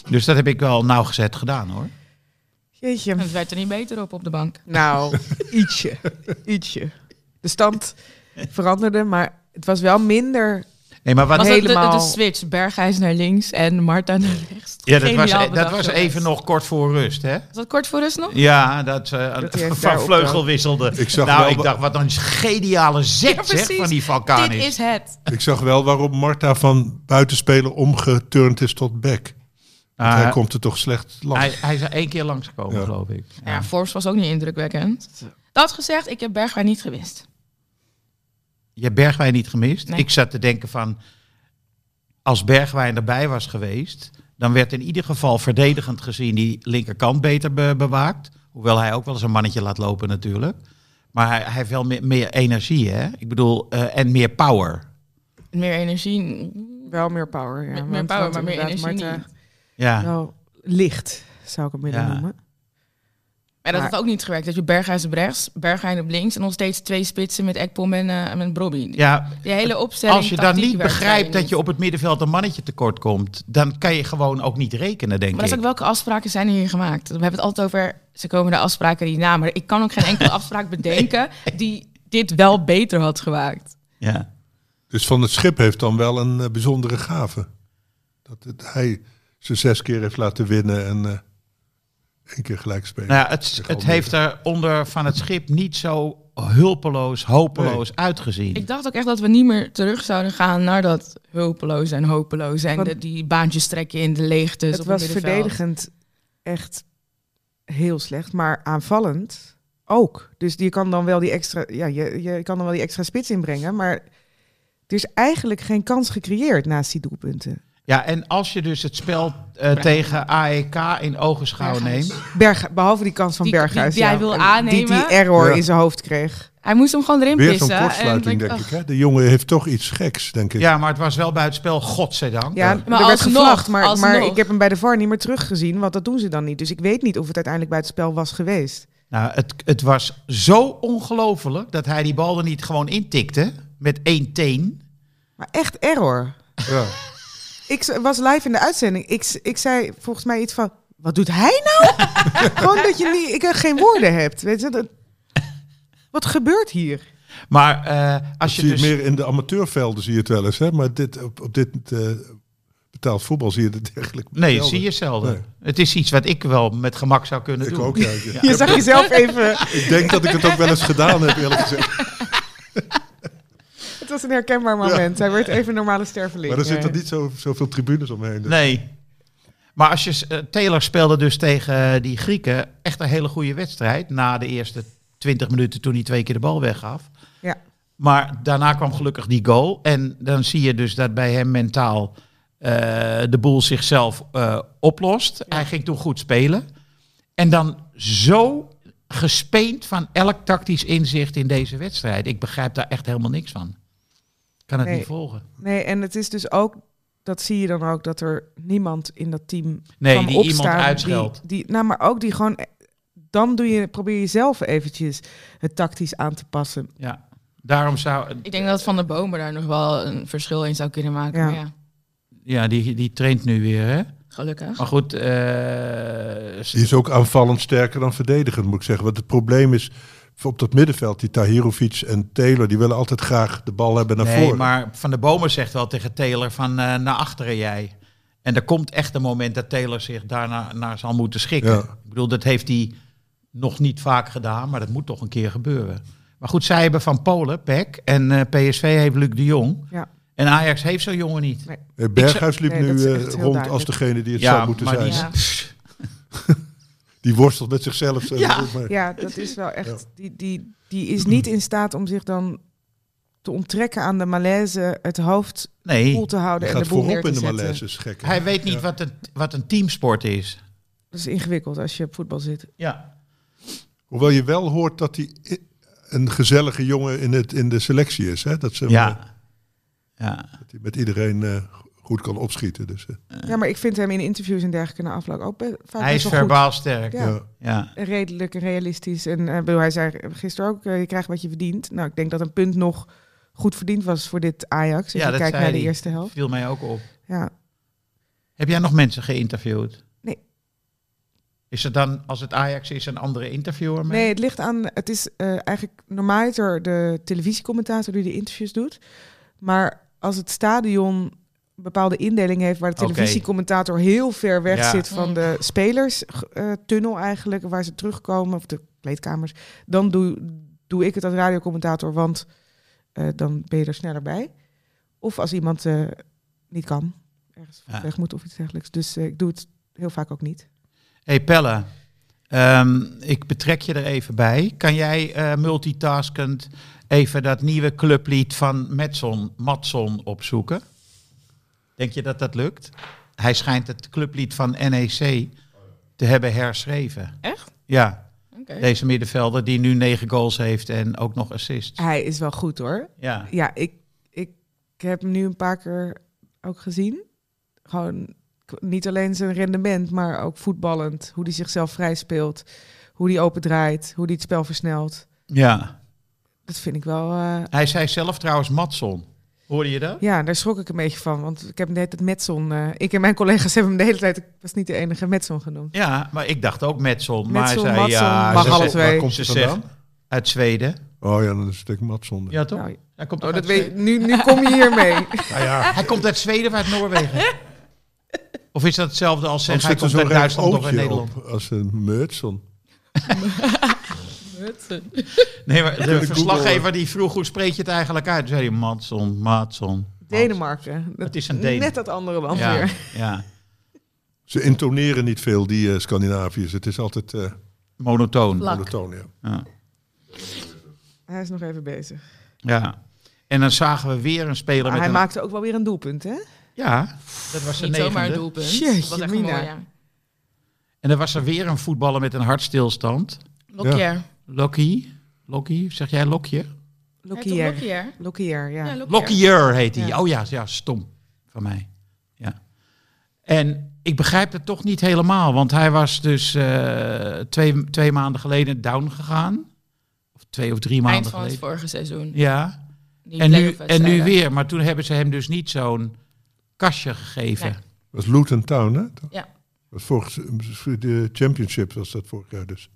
Speaker 2: Dus dat heb ik wel nauwgezet gedaan hoor.
Speaker 3: Jeetje.
Speaker 4: En het werd er niet beter op op de bank.
Speaker 3: Nou, ietsje. Ietsje. De stand veranderde, maar het was wel minder...
Speaker 2: Nee, maar wat
Speaker 4: Was
Speaker 2: heel-
Speaker 4: dat de- de, de,
Speaker 3: helemaal-
Speaker 4: switch? Berghuis naar links en Marta naar rechts.
Speaker 2: Ja, dat was, e-
Speaker 4: Geniaal
Speaker 2: dat
Speaker 4: bedacht,
Speaker 2: was
Speaker 4: jongens.
Speaker 2: even nog kort voor rust, hè?
Speaker 4: Was dat kort voor rust nog?
Speaker 2: Ja, dat, eh,
Speaker 3: Dat hij heeft
Speaker 2: van
Speaker 3: daar
Speaker 2: vleugel
Speaker 3: ook,
Speaker 2: wisselde.
Speaker 5: Ik zag
Speaker 2: nou,
Speaker 5: wel-
Speaker 2: ik dacht, wat een geniale zet
Speaker 4: eh, Ja,
Speaker 2: zeg,
Speaker 4: precies.
Speaker 2: van die vulkaan
Speaker 4: Dit is het.
Speaker 5: Ik zag wel waarom Marta van buitenspeler omgeturnd is tot back. Want hij komt er toch slecht langs.
Speaker 2: Ah, hij, hij is er één keer langsgekomen,
Speaker 5: Ja.
Speaker 2: geloof ik.
Speaker 4: Ja, Forbes was ook niet indrukwekkend. Dat gezegd, ik heb Bergwijn niet gewist.
Speaker 2: Je hebt Bergwijn niet gemist.
Speaker 4: Nee.
Speaker 2: Ik zat te denken van, als Bergwijn erbij was geweest, dan werd in ieder geval verdedigend gezien die linkerkant beter be- bewaakt. Hoewel hij ook wel eens een mannetje laat lopen natuurlijk. Maar hij, hij heeft wel meer, meer energie, hè? Ik bedoel, eh, en meer power.
Speaker 4: Meer energie. mm,
Speaker 3: Wel meer power, ja.
Speaker 4: Meer
Speaker 3: want-
Speaker 4: power,
Speaker 3: want
Speaker 4: maar meer
Speaker 3: inderdaad,
Speaker 4: energie
Speaker 3: Marta,
Speaker 2: Ja.
Speaker 3: Wel licht, zou ik hem willen
Speaker 2: Ja.
Speaker 3: noemen.
Speaker 4: En dat
Speaker 3: Maar-
Speaker 4: had ook niet gewerkt. Dat je Berghuis op rechts, Bergwijn op links en nog steeds twee spitsen met Ekpom en, eh, en met Brobby.
Speaker 2: ja,
Speaker 4: Die hele opstelling.
Speaker 2: als je dan
Speaker 4: tactiek
Speaker 2: niet
Speaker 4: werkt
Speaker 2: begrijpt
Speaker 4: daar
Speaker 2: dat je op het middenveld een mannetje tekort komt, dan kan je gewoon ook niet rekenen, denk
Speaker 4: Maar dat
Speaker 2: ik.
Speaker 4: is ook welke afspraken zijn hier gemaakt. We hebben het altijd over, ze komen de afspraken die na. Maar ik kan ook geen enkele afspraak bedenken die dit wel beter had gemaakt.
Speaker 2: Ja.
Speaker 5: Dus Van het Schip heeft dan wel een eh, bijzondere gave. Dat het, hij ze zes keer heeft laten winnen en eh één keer gelijk spelen.
Speaker 2: Nou ja, het,
Speaker 5: Tegen
Speaker 2: het
Speaker 5: Almere.
Speaker 2: heeft er onder van het schip niet zo hulpeloos, hopeloos uitgezien.
Speaker 4: Ik dacht ook echt dat we niet meer terug zouden gaan naar dat hulpeloos en hopeloos. En
Speaker 3: Want-
Speaker 4: de- die baantjes trekken in de leegtes
Speaker 3: het
Speaker 4: Dus op
Speaker 3: was
Speaker 4: het middenveld.
Speaker 3: verdedigend echt heel slecht, maar aanvallend ook. Dus je kan dan wel die extra, ja, je, je kan dan wel die extra spits inbrengen, maar er is eigenlijk geen kans gecreëerd naast die doelpunten.
Speaker 2: Ja, en als je dus het spel eh, tegen AEK in ogenschouw
Speaker 4: Berghuis.
Speaker 2: neemt.
Speaker 3: Berg, behalve die kans van
Speaker 4: Die-
Speaker 3: Berghuis.
Speaker 4: die- die hij wil
Speaker 3: en Die die
Speaker 4: aannemen.
Speaker 3: error
Speaker 5: Ja.
Speaker 3: in zijn hoofd kreeg.
Speaker 4: Hij moest hem gewoon erin
Speaker 5: Weer zo'n
Speaker 4: pissen.
Speaker 5: kortsluiting,
Speaker 4: en
Speaker 5: denk
Speaker 4: dan-
Speaker 5: ik. Hè? De jongen heeft toch iets geks, denk ik.
Speaker 2: Ja, maar het was wel bij het spel, godzijdank.
Speaker 3: Ja,
Speaker 2: Ja.
Speaker 4: Maar
Speaker 3: er werd
Speaker 4: alsnog,
Speaker 3: gevlacht, maar, maar
Speaker 4: alsnog.
Speaker 3: ik heb hem bij de VAR niet meer teruggezien, want dat doen ze dan niet. Dus ik weet niet of het uiteindelijk bij het spel was geweest.
Speaker 2: Nou, het, het was zo ongelofelijk dat hij die bal er niet gewoon intikte. Met één teen.
Speaker 3: Maar echt error.
Speaker 5: Ja.
Speaker 3: Ik z- was live in de uitzending. Ik, s- ik zei volgens mij iets van: wat doet hij nou? Gewoon dat je niet, ik eh, geen woorden hebt. Weet je, dat, wat gebeurt hier?
Speaker 2: Maar eh, als
Speaker 5: Dat
Speaker 2: je
Speaker 5: zie je
Speaker 2: dus...
Speaker 5: Meer in de amateurvelden zie je het wel eens. Hè? Maar dit, op, op dit eh, betaald voetbal zie je het eigenlijk
Speaker 2: Nee,
Speaker 5: zelden.
Speaker 2: zie je zelden.
Speaker 5: Nee.
Speaker 2: Het is iets wat ik wel met gemak zou kunnen
Speaker 5: Ik
Speaker 2: doen.
Speaker 5: ook, ja. Ik-
Speaker 3: Je zag jezelf even.
Speaker 5: Ik denk dat ik het ook wel eens gedaan heb, eerlijk gezegd.
Speaker 3: Het was een herkenbaar moment. Hij werd even een normale sterveling.
Speaker 5: Maar er
Speaker 3: Ja,
Speaker 5: zitten
Speaker 3: ja. Dus-
Speaker 5: niet zo, zoveel tribunes omheen. dus-
Speaker 2: Nee. Maar als je, eh, Taylor speelde dus tegen die Grieken echt een hele goede wedstrijd. Na de eerste 20 minuten toen hij twee keer de bal weggaf.
Speaker 3: Ja.
Speaker 2: Maar daarna kwam gelukkig die goal. En dan zie je dus dat bij hem mentaal eh, de boel zichzelf eh, oplost. Hij ging toen goed spelen. En dan zo gespeend van elk tactisch inzicht in deze wedstrijd. Ik begrijp daar echt helemaal niks van. Ik kan het
Speaker 3: Nee.
Speaker 2: niet volgen.
Speaker 3: Nee, en het is dus ook, dat zie je dan ook, dat er niemand in dat team
Speaker 2: Nee,
Speaker 3: kan
Speaker 2: die
Speaker 3: opstaan.
Speaker 2: iemand uitscheldt.
Speaker 3: Die, die, nou, maar ook die gewoon, dan doe je, probeer je zelf eventjes het tactisch aan te passen.
Speaker 2: Ja. Daarom zou...
Speaker 4: Ik denk dat Van der Bomen daar nog wel een verschil in zou kunnen maken.
Speaker 3: Ja.
Speaker 4: Maar ja,
Speaker 2: Ja, die, die traint nu weer, hè?
Speaker 4: gelukkig.
Speaker 2: Maar goed, eh,
Speaker 5: Die is ook aanvallend sterker dan verdedigend, moet ik zeggen. Want het probleem is, op dat middenveld, die Tahirovic en Taylor... die willen altijd graag de bal hebben naar
Speaker 2: nee,
Speaker 5: voren.
Speaker 2: maar Van der Bomen zegt wel tegen Taylor van eh, naar achteren jij. En er komt echt een moment dat Taylor zich daarna naar zal moeten schikken.
Speaker 5: Ja.
Speaker 2: Ik bedoel, dat heeft hij nog niet vaak gedaan, maar dat moet toch een keer gebeuren. Maar goed, zij hebben van Polen, PEC, en eh, PSV heeft Luc de Jong.
Speaker 3: Ja.
Speaker 2: En Ajax heeft zo'n jongen niet.
Speaker 3: Nee.
Speaker 5: Eh, Berghuis liep
Speaker 3: nee,
Speaker 5: nu
Speaker 3: dat is
Speaker 5: eh,
Speaker 3: echt heel
Speaker 5: rond
Speaker 3: duidelijk.
Speaker 5: als degene die het
Speaker 2: Ja,
Speaker 5: zou moeten
Speaker 2: maar
Speaker 5: zijn.
Speaker 2: die
Speaker 5: Die,
Speaker 2: is-
Speaker 4: Ja.
Speaker 5: worstelt met zichzelf. eh,
Speaker 2: Ja.
Speaker 5: maar-
Speaker 3: Ja, dat is wel echt, die, die, die is niet in staat om zich dan te onttrekken aan de malaise, het hoofd
Speaker 2: Nee,
Speaker 3: koel te houden
Speaker 5: Hij
Speaker 3: en
Speaker 5: gaat
Speaker 3: de boel neer
Speaker 5: voorop
Speaker 3: te
Speaker 5: in de
Speaker 3: zetten.
Speaker 5: malaise, is gek. hè?
Speaker 2: hij weet niet
Speaker 5: Ja.
Speaker 2: wat, een, wat een teamsport is.
Speaker 3: Dat is ingewikkeld als je op voetbal zit.
Speaker 2: Ja.
Speaker 5: Hoewel je wel hoort dat hij i- een gezellige jongen in, het, in de selectie is. Hè? Dat, ze,
Speaker 2: Ja. ja.
Speaker 5: dat hij met iedereen eh, goed kan opschieten. Dus, eh,
Speaker 3: Ja, maar ik vind hem in interviews en dergelijke na afloop ook be- vaak
Speaker 2: Hij is
Speaker 3: best wel goed.
Speaker 2: verbaal sterk.
Speaker 3: Ja.
Speaker 5: ja.
Speaker 2: ja.
Speaker 3: redelijk en realistisch. En eh, bedoel, hij zei gisteren ook, eh, je krijgt wat je verdient. Nou, ik denk dat een punt nog goed verdiend was voor dit Ajax. Als
Speaker 2: Ja,
Speaker 3: je
Speaker 2: dat
Speaker 3: kijkt
Speaker 2: zei
Speaker 3: naar de
Speaker 2: hij.
Speaker 3: eerste helft.
Speaker 2: Viel mij ook op.
Speaker 3: Ja.
Speaker 2: Heb jij nog mensen geïnterviewd?
Speaker 3: Nee.
Speaker 2: Is er dan, als het Ajax is, een andere interviewer mee?
Speaker 3: Nee, het ligt aan, het is eh, eigenlijk normaaliter de televisiecommentator die de interviews doet. Maar als het stadion een bepaalde indeling heeft waar de
Speaker 2: Oké.
Speaker 3: televisiecommentator heel ver weg
Speaker 2: Ja.
Speaker 3: zit van de spelerstunnel eigenlijk, waar ze terugkomen, of de kleedkamers, dan doe, doe ik het als radiocommentator, want eh, dan ben je er sneller bij. Of als iemand eh, niet kan, ergens
Speaker 2: Ja.
Speaker 3: weg moet of iets dergelijks. Dus eh, ik doe het heel vaak ook niet.
Speaker 2: hey Pelle, ehm, ik betrek je er even bij. Kan jij eh, multitaskend even dat nieuwe clublied van Matson, Matson opzoeken? Denk je dat dat lukt? Hij schijnt het clublied van NEC te hebben herschreven.
Speaker 4: Echt?
Speaker 2: Ja,
Speaker 4: Oké.
Speaker 2: deze middenvelder die nu negen goals heeft en ook nog assists.
Speaker 3: Hij is wel goed hoor.
Speaker 2: Ja.
Speaker 3: Ja, ik, ik, ik heb hem nu een paar keer ook gezien. Gewoon k- niet alleen zijn rendement, maar ook voetballend. Hoe hij zichzelf vrij speelt. Hoe hij opendraait. Hoe hij het spel versnelt.
Speaker 2: ja.
Speaker 3: Dat vind ik wel... eh,
Speaker 2: Hij zei zelf trouwens Matson. Hoorde je dat?
Speaker 3: ja, daar schrok ik een beetje van. Want ik heb net het Metson... eh, ik en mijn collega's hebben hem de hele tijd... Ik was niet de enige Metson genoemd.
Speaker 2: Ja, maar ik dacht ook Metson. Maar hij
Speaker 3: Metson,
Speaker 2: zei
Speaker 3: Matson,
Speaker 2: ja,
Speaker 3: mag
Speaker 2: ze
Speaker 3: alle
Speaker 2: zegt-
Speaker 3: twee.
Speaker 5: Waar komt
Speaker 2: Ze
Speaker 5: het vandaan?
Speaker 2: uit Zweden.
Speaker 5: Oh ja, dan is het een stuk matzonder.
Speaker 2: Ja, toch?
Speaker 3: Nou,
Speaker 2: hij, komt
Speaker 3: Oh,
Speaker 2: toch
Speaker 3: dat
Speaker 2: uit
Speaker 3: weet,
Speaker 2: Zweden?
Speaker 3: nu, nu kom je hiermee.
Speaker 5: Nou ja,
Speaker 2: hij komt uit Zweden of uit Noorwegen? of is dat hetzelfde als
Speaker 5: dan
Speaker 2: zeggen hij
Speaker 5: zit er
Speaker 2: komt
Speaker 5: zo'n
Speaker 2: uit
Speaker 5: recht
Speaker 2: Duitsland of uit
Speaker 5: oogje
Speaker 2: Nederland?
Speaker 5: op als een Meutson.
Speaker 2: Nee, maar de
Speaker 5: Google,
Speaker 2: verslaggever die vroeg hoe spreek je het eigenlijk uit? Toen zei hij Matson, Matson.
Speaker 3: Denemarken. Dat,
Speaker 2: Het is een Deen.
Speaker 3: Net dat andere land
Speaker 2: Ja,
Speaker 3: weer.
Speaker 2: ja,
Speaker 5: Ze intoneren niet veel, die eh, Scandinaviërs. Het is altijd eh
Speaker 2: monotoon.
Speaker 4: Lak.
Speaker 5: monotoon, ja.
Speaker 2: Ja.
Speaker 3: Hij is nog even bezig.
Speaker 2: ja. En dan zagen we weer een speler
Speaker 3: Maar
Speaker 2: met
Speaker 3: hij
Speaker 2: een...
Speaker 3: maakte ook wel weer een doelpunt, hè?
Speaker 2: Ja, dat was zijn
Speaker 4: Niet zomaar een
Speaker 2: negende.
Speaker 4: doelpunt.
Speaker 3: Jeetje,
Speaker 4: Wat echt
Speaker 3: Mina.
Speaker 4: mooi, ja.
Speaker 2: En dan was er weer een voetballer met een hartstilstand.
Speaker 4: Lokjer.
Speaker 2: Lokkie. Lokkie, zeg jij Lokje?
Speaker 3: Lokier.
Speaker 4: Lokjer.
Speaker 3: Lokier, ja.
Speaker 4: Ja, Lokjer.
Speaker 2: Lokkier heet hij.
Speaker 4: Ja.
Speaker 2: Oh ja, ja, stom van mij. Ja. En ik begrijp het toch niet helemaal, want hij was dus eh, twee, twee maanden geleden down gegaan. Of twee of drie
Speaker 4: Eind
Speaker 2: maanden
Speaker 4: van het
Speaker 2: geleden.
Speaker 4: vorige seizoen.
Speaker 2: Ja,
Speaker 4: Die
Speaker 2: en nu, en
Speaker 4: playoff-wedstrijden.
Speaker 2: nu weer. Maar toen hebben ze hem dus niet zo'n kastje gegeven.
Speaker 4: Nee.
Speaker 5: Dat is Luton Town, hè?
Speaker 4: Ja.
Speaker 5: Dat was vorig, de championship was dat vorig jaar dus.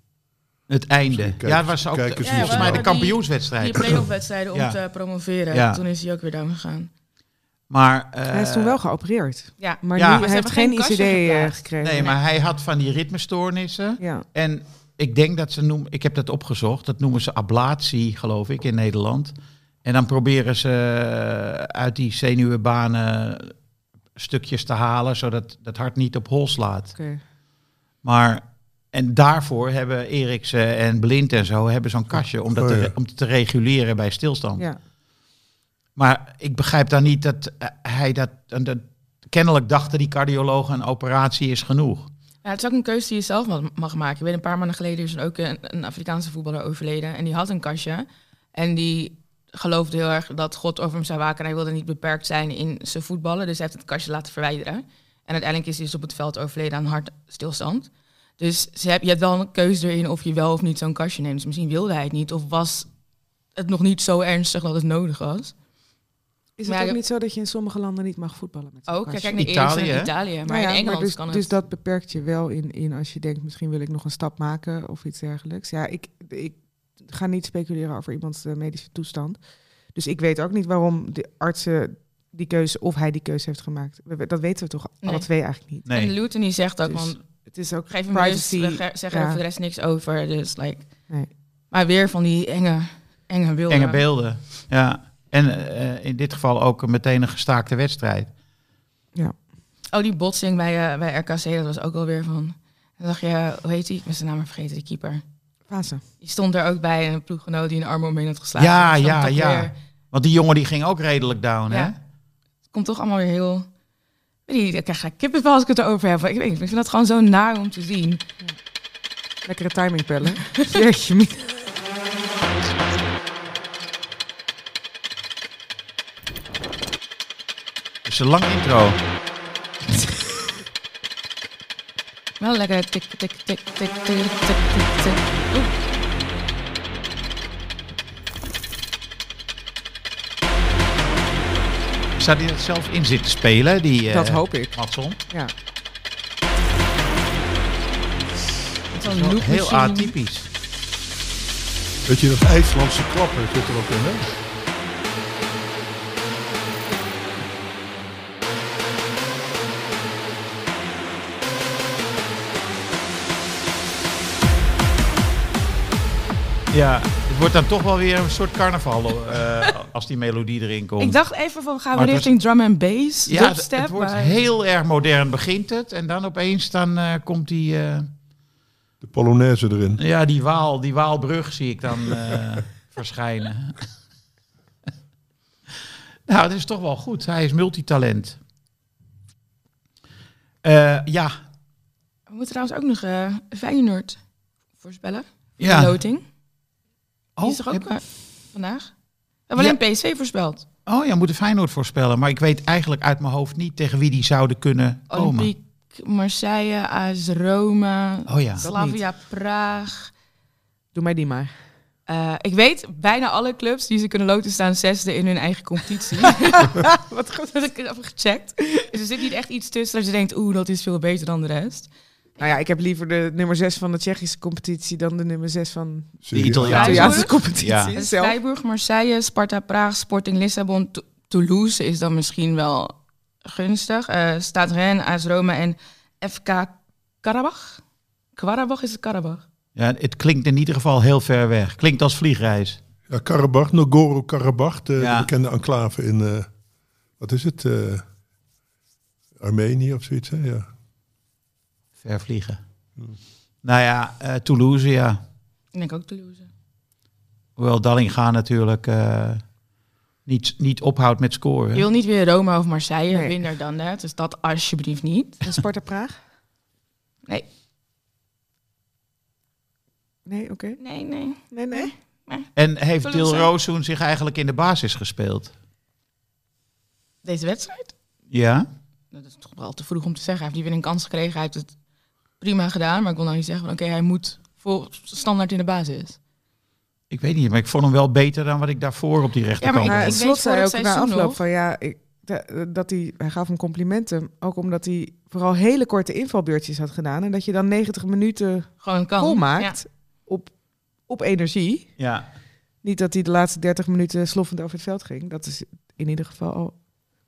Speaker 2: Het einde.
Speaker 5: Misschien kijkers-
Speaker 2: ja, het was ook
Speaker 5: kijkers
Speaker 4: Ja,
Speaker 2: volgens mij de
Speaker 4: maar die- Die
Speaker 2: kampioenswedstrijd.
Speaker 4: playoff-wedstrijden om
Speaker 2: Ja.
Speaker 4: te promoveren.
Speaker 2: Ja.
Speaker 4: Toen is hij ook weer down gegaan.
Speaker 2: Maar, eh,
Speaker 3: Hij is toen wel geopereerd.
Speaker 4: Ja.
Speaker 3: Maar
Speaker 2: Ja.
Speaker 3: nu,
Speaker 2: Maar
Speaker 4: ze
Speaker 3: hij heeft geen
Speaker 4: hebben
Speaker 3: ICD
Speaker 4: geen kastje
Speaker 3: eh,
Speaker 4: geplaatst.
Speaker 3: gekregen.
Speaker 2: Nee, maar hij had van die ritmestoornissen.
Speaker 3: Ja.
Speaker 2: En ik denk dat ze noemen, ik heb dat opgezocht, dat noemen ze ablatie, geloof ik, in Nederland. En dan proberen ze eh, uit die zenuwbanen stukjes te halen, zodat dat hart niet op hol slaat.
Speaker 3: Oké.
Speaker 2: Maar, en daarvoor hebben Eriksen en Blind en zo hebben zo'n kastje om dat
Speaker 5: Oh, ja.
Speaker 2: te, om te reguleren bij stilstand.
Speaker 3: Ja.
Speaker 2: Maar ik begrijp dan niet dat eh, hij dat, en dat... Kennelijk dachten die cardiologen een operatie is genoeg.
Speaker 4: Ja, het is ook een keuze die je zelf ma- mag maken. Ik weet, een paar maanden geleden is er ook een, een Afrikaanse voetballer overleden. En die had een kastje. En die geloofde heel erg dat God over hem zou waken. En hij wilde niet beperkt zijn in zijn voetballen. Dus hij heeft het kastje laten verwijderen. En uiteindelijk is hij dus op het veld overleden aan hartstilstand. Dus ze heb, je hebt wel een keuze erin of je wel of niet zo'n kastje neemt. Dus misschien wilde hij het niet. Of was het nog niet zo ernstig dat het nodig was.
Speaker 3: Is
Speaker 4: Maar
Speaker 3: het
Speaker 4: ja,
Speaker 3: ook
Speaker 4: ik-
Speaker 3: niet zo dat je in sommige landen niet mag voetballen met zo'n
Speaker 4: Ook, kijk
Speaker 3: kastje?
Speaker 4: naar Eriksen
Speaker 2: Italië,
Speaker 4: in
Speaker 2: hè?
Speaker 4: Italië. Maar
Speaker 3: Nou ja,
Speaker 4: in Engeland
Speaker 3: dus,
Speaker 4: kan het.
Speaker 3: dus dat beperkt je wel in, in als je denkt, misschien wil ik nog een stap maken of iets dergelijks. Ja, ik, ik ga niet speculeren over iemands eh, medische toestand. Dus ik weet ook niet waarom de artsen die keuze of hij die keuze heeft gemaakt. We- we- Dat weten we toch
Speaker 4: Nee.
Speaker 3: alle twee eigenlijk niet.
Speaker 2: Nee.
Speaker 4: En Luton die zegt ook,
Speaker 3: Dus-
Speaker 4: want
Speaker 3: Het is ook
Speaker 4: Geef hem
Speaker 3: privacy.
Speaker 4: rust, we ge- zeggen er
Speaker 3: ja.
Speaker 4: voor dus de rest niks over. Dus, like.
Speaker 3: Nee.
Speaker 4: Maar weer van die enge, enge beelden.
Speaker 2: Enge beelden. Ja. En eh, in dit geval ook meteen een gestaakte wedstrijd.
Speaker 4: Oh, die botsing bij, eh, bij RKC, dat was ook alweer van... Dan dacht je, hoe heet die? Ik ben zijn naam maar vergeten, die keeper.
Speaker 3: Fase.
Speaker 4: Die stond er ook bij en een ploeggenoot die een arm omheen had geslagen.
Speaker 2: Ja,
Speaker 4: Dus dan
Speaker 2: ja,
Speaker 4: toch
Speaker 2: ja.
Speaker 4: weer-
Speaker 2: Want die jongen die ging ook redelijk down, hè?
Speaker 4: ja. Het komt toch allemaal weer heel... Weet je, ik krijg gelijk kippenvel als ik het erover heb. Ik, weet niet, ik vind dat gewoon zo naar om te zien.
Speaker 3: Lekkere timing pellen. Jeetje, mina.
Speaker 2: Dus een lang intro.
Speaker 4: Wel lekker tik, tik, tik, tik, tik, tik, tik, tik. Oeh.
Speaker 2: Zou hij dat zelf in zitten spelen? Die, eh,
Speaker 3: Dat hoop ik.
Speaker 2: Matson?
Speaker 3: Ja.
Speaker 4: Het was een
Speaker 2: Heel
Speaker 4: loopmachine.
Speaker 2: atypisch.
Speaker 5: Weet je, dat IJslandse klappen zit er ook in, hè?
Speaker 2: Ja, het wordt dan toch wel weer een soort carnaval eh, als die melodie erin komt.
Speaker 4: Ik dacht even van, gaan we
Speaker 2: Maar het was-
Speaker 4: richting drum and bass?
Speaker 2: ja, het-
Speaker 4: dubstep,
Speaker 2: het wordt
Speaker 4: maar-
Speaker 2: heel erg modern begint het. En dan opeens dan, eh, komt die, eh,
Speaker 5: De Polonaise erin.
Speaker 2: ja, die, Waal, die Waalbrug zie ik dan eh, verschijnen. nou, dat is toch wel goed. Hij is multitalent. Eh, ja,
Speaker 4: We moeten trouwens ook nog eh Feyenoord voorspellen. Ja.
Speaker 2: ja.
Speaker 4: De loting. Die
Speaker 2: Oh,
Speaker 4: is er ook
Speaker 2: heb-
Speaker 4: eh, vandaag. We hebben alleen PSV voorspeld.
Speaker 2: Oh ja, moet de Feyenoord voorspellen. Maar ik weet eigenlijk uit mijn hoofd niet tegen wie die zouden kunnen komen.
Speaker 4: Olympique, Marseille, AS Roma,
Speaker 2: Oh ja.
Speaker 4: Slavia Praag.
Speaker 3: Doe mij die maar.
Speaker 4: Eh, ik weet, bijna alle clubs die ze kunnen loten staan zesde in hun eigen competitie. Wat goed dat ik het heb gecheckt. Dus er zit niet echt iets tussen dat je denkt, oeh, dat is veel beter dan de rest.
Speaker 3: Nou ja, ik heb liever de nummer 6 van de Tsjechische competitie dan de nummer 6 van
Speaker 5: Zie je?
Speaker 2: Italiaan.
Speaker 3: de
Speaker 4: Ja,
Speaker 3: Italiaanse
Speaker 4: hoor.
Speaker 3: competitie.
Speaker 2: Ja.
Speaker 4: Dus
Speaker 3: Zelf.
Speaker 4: Freiburg, Marseille, Sparta, Praag, Sporting Lissabon, To- Toulouse is dan misschien wel gunstig. Eh Stade Rennes, AS Roma en FK Karabach. Karabach is het Karabach.
Speaker 2: Ja, het klinkt in ieder geval heel ver weg. Klinkt als vliegreis.
Speaker 5: Ja, Karabach, Nagorno-Karabach, de,
Speaker 2: Ja.
Speaker 5: de bekende enclave in, eh, wat is het, eh, Armenië of zoiets, hè? Ja.
Speaker 2: Ver vliegen. Nou ja, eh, Toulouse, ja.
Speaker 4: Ik denk ook Toulouse.
Speaker 2: Hoewel Dallinga natuurlijk eh, niet, niet ophoudt met scoren.
Speaker 4: Je wil niet weer Roma of Marseille,
Speaker 3: Nee.
Speaker 4: minder dan dat. Dus dat alsjeblieft niet.
Speaker 3: En Sparta Praag?
Speaker 4: Nee.
Speaker 3: Nee, oké.
Speaker 4: Nee, nee.
Speaker 3: Nee, nee.
Speaker 2: En heeft
Speaker 4: Toulouse.
Speaker 2: Dilrozoen zich eigenlijk in de basis gespeeld?
Speaker 4: Deze wedstrijd? Nou,
Speaker 2: Ja?
Speaker 4: Dat is toch wel te vroeg om te zeggen. Hij heeft die weer een kans gekregen. Hij heeft het prima gedaan. Maar ik wil nou niet zeggen van oké, hij moet voor standaard in de basis.
Speaker 2: Ik weet niet, maar ik vond hem wel beter dan wat ik daarvoor op die rechterkant
Speaker 4: ik-
Speaker 3: Maar
Speaker 2: had.
Speaker 3: het
Speaker 4: weet
Speaker 3: slot
Speaker 4: voor
Speaker 3: zei
Speaker 4: het
Speaker 3: ook na
Speaker 4: seizoen
Speaker 3: afloop
Speaker 4: nog-
Speaker 3: van ja, ik, de- dat hij, hij gaf hem complimenten. Ook omdat hij vooral hele korte invalbeurtjes had gedaan. En dat je dan 90 minuten
Speaker 4: Gewoon kan.
Speaker 3: vol
Speaker 4: Ja.
Speaker 3: maakt op, op energie.
Speaker 2: Ja.
Speaker 3: Niet dat hij de laatste 30 minuten sloffend over het veld ging. Dat is in ieder geval al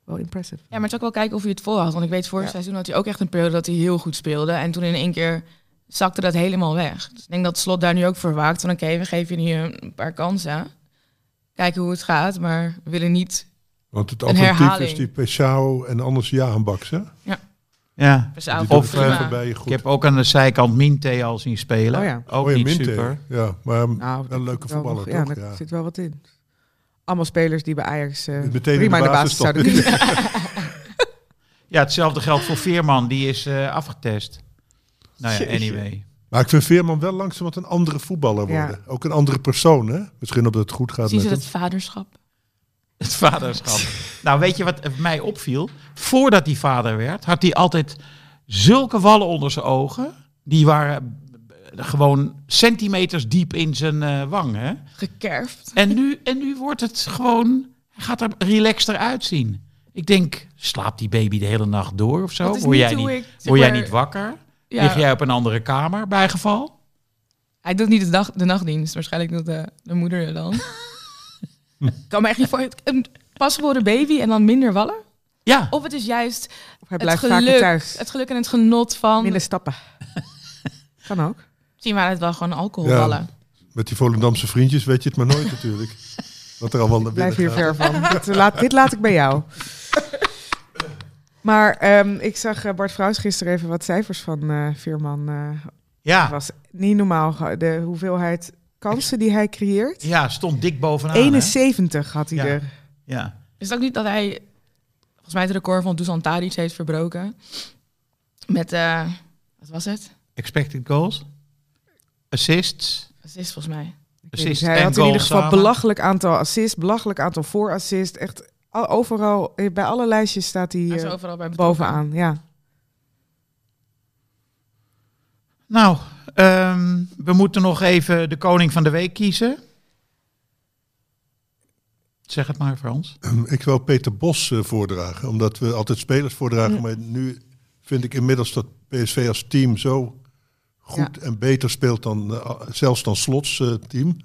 Speaker 3: wel impressive.
Speaker 4: Ja, maar het is ook wel kijken of hij het volhoudt. Want ik weet, vorig
Speaker 3: Ja.
Speaker 4: seizoen had hij ook echt een periode dat hij heel goed speelde. En toen in één keer zakte dat helemaal weg. Dus ik denk dat Slot daar nu ook voor waakt. Van oké, we geven je nu een paar kansen. Kijken hoe het gaat, maar we willen niet
Speaker 5: Want het
Speaker 4: Een
Speaker 5: alternatief
Speaker 4: herhaling.
Speaker 5: is die Pesao en anders Jahanbaks, hè?
Speaker 2: Ja.
Speaker 5: Die
Speaker 4: Pessoa
Speaker 5: doen
Speaker 4: vond
Speaker 2: Of,
Speaker 4: ik
Speaker 5: het
Speaker 2: eh,
Speaker 5: even
Speaker 4: prima.
Speaker 5: bij je goed.
Speaker 2: Ik heb ook aan de zijkant Minte al zien spelen.
Speaker 3: Oh ja.
Speaker 2: Ook
Speaker 5: Oh ja,
Speaker 2: niet
Speaker 5: Minte.
Speaker 2: super.
Speaker 5: Ja, maar mm,
Speaker 3: Nou,
Speaker 5: wel een leuke
Speaker 3: wel
Speaker 5: voetballer
Speaker 3: nog-
Speaker 5: toch?
Speaker 3: Ja, daar
Speaker 5: Ja.
Speaker 3: zit wel wat in. Allemaal spelers die bij Ajax eh,
Speaker 5: Meteen in de
Speaker 3: prima in de basis
Speaker 5: basis
Speaker 3: zouden
Speaker 5: stoppen.
Speaker 3: kunnen.
Speaker 2: Ja, hetzelfde geldt voor Veerman. Die is eh, afgetest. Nou ja,
Speaker 3: Jeetje.
Speaker 2: anyway.
Speaker 5: Maar ik vind Veerman wel langzaam wat een andere voetballer
Speaker 3: Ja.
Speaker 5: worden. Ook een andere persoon, hè? Misschien dat het goed gaat
Speaker 4: Zien
Speaker 5: met
Speaker 4: ze
Speaker 5: hem.
Speaker 4: dat vaderschap?
Speaker 2: Het vaderschap. nou, weet je wat mij opviel? Voordat hij vader werd, had hij altijd zulke wallen onder zijn ogen. Die waren eh, gewoon centimeters diep in zijn eh, wang. Hè?
Speaker 4: Gekerfd.
Speaker 2: En, nu, en nu wordt het gewoon... Hij gaat er relaxter uitzien. Ik denk, slaapt die baby de hele nacht door of zo?
Speaker 4: Dat is
Speaker 2: Word
Speaker 4: niet
Speaker 2: jij
Speaker 4: hoe
Speaker 2: niet,
Speaker 4: ik, zeg
Speaker 2: word jij
Speaker 4: maar,
Speaker 2: niet wakker?
Speaker 4: ja,
Speaker 2: Lig jij op een andere kamer bij geval?
Speaker 4: Hij doet niet de, dag, de nachtdienst. Waarschijnlijk doet de, de moeder het dan. Ik kan me echt niet voor... Een pasgeboren baby en dan minder wallen?
Speaker 2: Ja,
Speaker 4: Of het is juist
Speaker 3: Of hij
Speaker 4: het
Speaker 3: blijft
Speaker 4: geluk,
Speaker 3: vaker thuis.
Speaker 4: Het geluk en het genot van...
Speaker 3: Minder stappen. kan ook.
Speaker 4: Misschien waren het wel gewoon
Speaker 5: Ja.
Speaker 4: alcoholballen.
Speaker 5: Met die Volendamse vriendjes weet je het maar nooit natuurlijk. Wat er allemaal naar binnen
Speaker 3: Blijf hier
Speaker 5: gaat.
Speaker 3: ver van. Dit eh, laat, dit laat ik bij jou. Maar ehm, ik zag eh, Bart Vrouws gisteren even wat cijfers van eh Veerman. eh
Speaker 2: ja,
Speaker 3: was niet normaal, ge- de hoeveelheid kansen die hij creëert.
Speaker 2: ja, stond dik bovenaan. Ah, hè?
Speaker 3: 71 had hij
Speaker 2: Ja.
Speaker 3: er.
Speaker 2: Ja.
Speaker 4: Is het ook niet dat hij volgens mij het record van Dusan Tadic heeft verbroken? Met, eh, wat was het?
Speaker 2: Expected goals, assists,
Speaker 4: Dat is volgens mij.
Speaker 3: Ik weet
Speaker 2: assists
Speaker 3: niet, hij
Speaker 2: en
Speaker 3: had in
Speaker 2: goals
Speaker 3: ieder geval
Speaker 2: samen.
Speaker 3: belachelijk aantal assists, belachelijk aantal voorassists. Echt al- overal, eh, bij alle lijstjes staat hij
Speaker 4: Hij is
Speaker 3: eh,
Speaker 4: overal bij betrokken.
Speaker 3: bovenaan. Ja.
Speaker 2: Nou, ehm, we moeten nog even de koning van de week kiezen. Zeg het maar, Frans. Nou,
Speaker 5: Ik wil Peter Bos eh, voordragen, omdat we altijd spelers voordragen. Maar nu vind ik inmiddels dat PSV als team zo goed en beter speelt dan eh, zelfs dan Slots eh, team.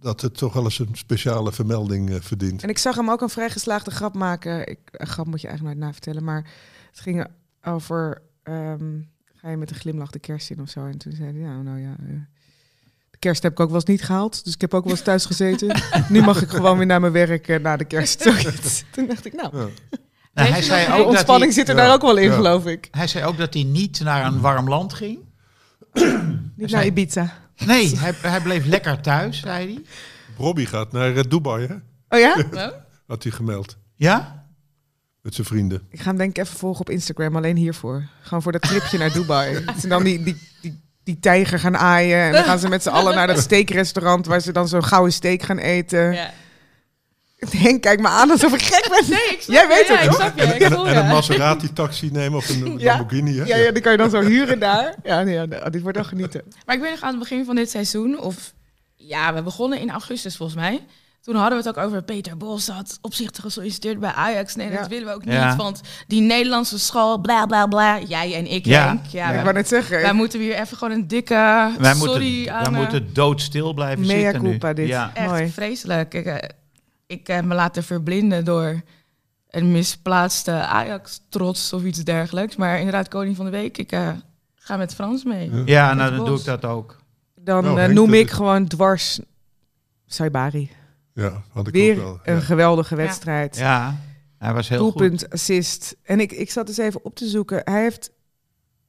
Speaker 5: Dat het toch wel eens een speciale vermelding eh, verdient.
Speaker 3: En ik zag hem ook een vrij geslaagde grap maken. Ik, een grap moet je eigenlijk nooit navertellen. Maar het ging over... ehm, ga je met een glimlach de kerst in of zo? En toen zei hij, nou, nou ja... eh, de kerst heb ik ook wel eens niet gehaald. Dus ik heb ook wel eens thuis gezeten. nu mag ik gewoon weer naar mijn werk eh, na de kerst. Zoiets. toen dacht ik, nou...
Speaker 5: Ja.
Speaker 2: Nou,
Speaker 4: Heeft
Speaker 2: hij,
Speaker 4: u
Speaker 2: zei ook
Speaker 4: nog een
Speaker 2: dat hij,
Speaker 3: Ontspanning zit er
Speaker 5: Ja,
Speaker 3: daar ook wel in,
Speaker 5: ja.
Speaker 3: geloof ik.
Speaker 2: hij zei ook dat hij niet naar een warm land ging.
Speaker 3: Niet Dus naar
Speaker 2: zei-
Speaker 3: Ibiza.
Speaker 2: Nee, hij, hij bleef lekker thuis, zei hij.
Speaker 5: Robbie gaat naar eh, Dubai, hè?
Speaker 3: Oh ja?
Speaker 5: had hij gemeld
Speaker 2: Ja?
Speaker 5: met zijn vrienden.
Speaker 3: Ik ga hem denk ik even volgen op Instagram, alleen hiervoor. Gewoon voor dat tripje naar Dubai. En dan die, die, die, die tijger gaan aaien. En dan gaan ze met z'n allen naar dat steakrestaurant... waar ze dan zo'n gouden steak gaan eten.
Speaker 4: Ja.
Speaker 3: Henk, kijk me aan alsof ik gek ben.
Speaker 4: Nee, ik snap
Speaker 3: Jij
Speaker 4: je,
Speaker 3: weet
Speaker 4: ja,
Speaker 3: het,
Speaker 4: ik
Speaker 3: toch?
Speaker 4: snap je,
Speaker 5: en,
Speaker 4: ik
Speaker 5: en-
Speaker 4: voel
Speaker 5: en
Speaker 4: je.
Speaker 5: een Maserati-taxi nemen of een
Speaker 3: Ja.
Speaker 5: Lamborghini, hè?
Speaker 3: Ja, ja, die kan je dan zo huren daar. Ja, nee, ja, nee, dit wordt wel genieten.
Speaker 4: Maar ik weet nog aan het begin van dit seizoen, of ja, we begonnen in augustus volgens mij. Toen hadden we het ook over Peter Bos had opzichtig gesolliciteerd bij Ajax. Nee,
Speaker 3: Ja.
Speaker 4: dat willen we ook niet,
Speaker 2: Ja.
Speaker 4: want die Nederlandse school, bla bla bla. Jij en ik,
Speaker 2: Ja.
Speaker 4: Henk. Ja,
Speaker 3: ik
Speaker 4: wij,
Speaker 3: wou net zeggen.
Speaker 4: wij moeten hier even gewoon een dikke
Speaker 2: Wij
Speaker 4: sorry
Speaker 2: moeten, wij
Speaker 4: aan... eh,
Speaker 2: moeten doodstil blijven
Speaker 3: Mea
Speaker 2: zitten nu.
Speaker 3: culpa dit.
Speaker 2: Ja.
Speaker 4: Echt
Speaker 3: Mooi.
Speaker 4: vreselijk. Ik, eh, ik heb me laten verblinden door een misplaatste Ajax-trots of iets dergelijks. Maar inderdaad, koning van de week, ik eh, ga met Frans mee.
Speaker 5: Ja.
Speaker 2: ja, nou
Speaker 4: Peter
Speaker 2: dan
Speaker 4: Bos.
Speaker 2: doe ik dat ook.
Speaker 3: Dan
Speaker 5: Nou,
Speaker 3: eh,
Speaker 5: Henk,
Speaker 3: noem
Speaker 5: dat
Speaker 3: ik
Speaker 5: is-
Speaker 3: gewoon dwars Saibari.
Speaker 5: Ja, had ik ook
Speaker 3: Weer
Speaker 5: wel.
Speaker 3: een
Speaker 5: Ja.
Speaker 3: geweldige wedstrijd.
Speaker 2: Ja, hij was heel goed.
Speaker 3: Doelpunt, assist. En ik, ik zat dus even op te zoeken. Hij heeft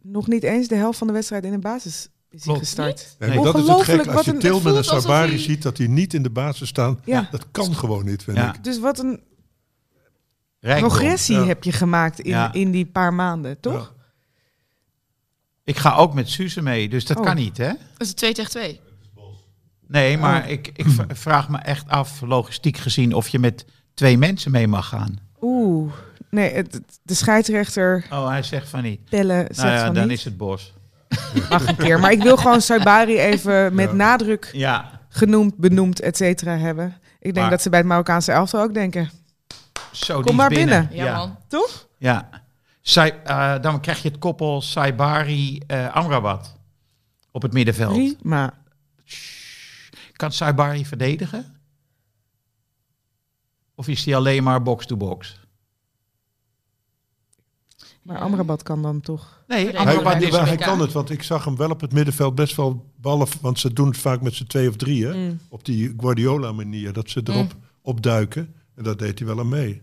Speaker 3: nog niet eens de helft van de wedstrijd in de basis is hij
Speaker 2: Klopt.
Speaker 3: gestart.
Speaker 5: Nee, maar dat is het
Speaker 3: Ongelooflijk,
Speaker 5: gek. Als
Speaker 3: wat
Speaker 5: je
Speaker 3: een-
Speaker 5: Til
Speaker 4: het
Speaker 5: met een
Speaker 4: voelt alsof
Speaker 5: Sabari
Speaker 4: hij-
Speaker 5: ziet dat hij niet in de basis staan,
Speaker 3: Ja.
Speaker 5: dat kan gewoon niet, vind
Speaker 2: Ja.
Speaker 5: ik.
Speaker 3: Dus wat een
Speaker 2: Rijkdom.
Speaker 3: progressie
Speaker 5: Ja.
Speaker 3: heb je gemaakt in,
Speaker 2: Ja.
Speaker 3: in die paar maanden, toch?
Speaker 5: Ja.
Speaker 2: Ik ga ook met Suze mee, dus dat
Speaker 3: Oh.
Speaker 2: kan niet, hè?
Speaker 4: Dat is 2 tegen 2.
Speaker 2: Nee,
Speaker 3: Oh.
Speaker 2: maar ik, ik v- vraag me echt af, logistiek gezien, of je met twee mensen mee mag gaan.
Speaker 3: Oeh. Nee, het, het- de scheidsrechter
Speaker 2: Oh, hij zegt van niet.
Speaker 3: bellen zegt
Speaker 2: nou ja,
Speaker 3: van
Speaker 2: dan
Speaker 3: niet.
Speaker 2: is het bos.
Speaker 3: Mag een keer. Maar ik wil gewoon Saibari even met
Speaker 5: Ja.
Speaker 3: nadruk
Speaker 2: Ja,
Speaker 3: genoemd, benoemd, et cetera hebben. Ik denk
Speaker 2: Maar-
Speaker 3: dat ze bij het Marokkaanse elftal ook denken.
Speaker 2: zo
Speaker 3: Kom
Speaker 2: die is
Speaker 3: maar binnen.
Speaker 4: Ja, man.
Speaker 3: Toch?
Speaker 2: Ja. Sai- eh, dan krijg je het koppel Saibari eh Amrabat op het middenveld.
Speaker 3: Prima.
Speaker 2: Kan Saibari verdedigen? Of is hij alleen maar box-to-box?
Speaker 3: Maar Amrabat kan dan toch.
Speaker 2: Nee,
Speaker 4: Hij-
Speaker 5: Hij,
Speaker 2: Amrabat
Speaker 5: hij-
Speaker 2: is...
Speaker 5: hij
Speaker 4: WK.
Speaker 5: kan het, want ik zag hem wel op het middenveld best wel ballen, want ze doen het vaak met z'n twee of drie, hè? Op die Guardiola-manier, dat ze erop opduiken. En dat deed hij wel aan mee.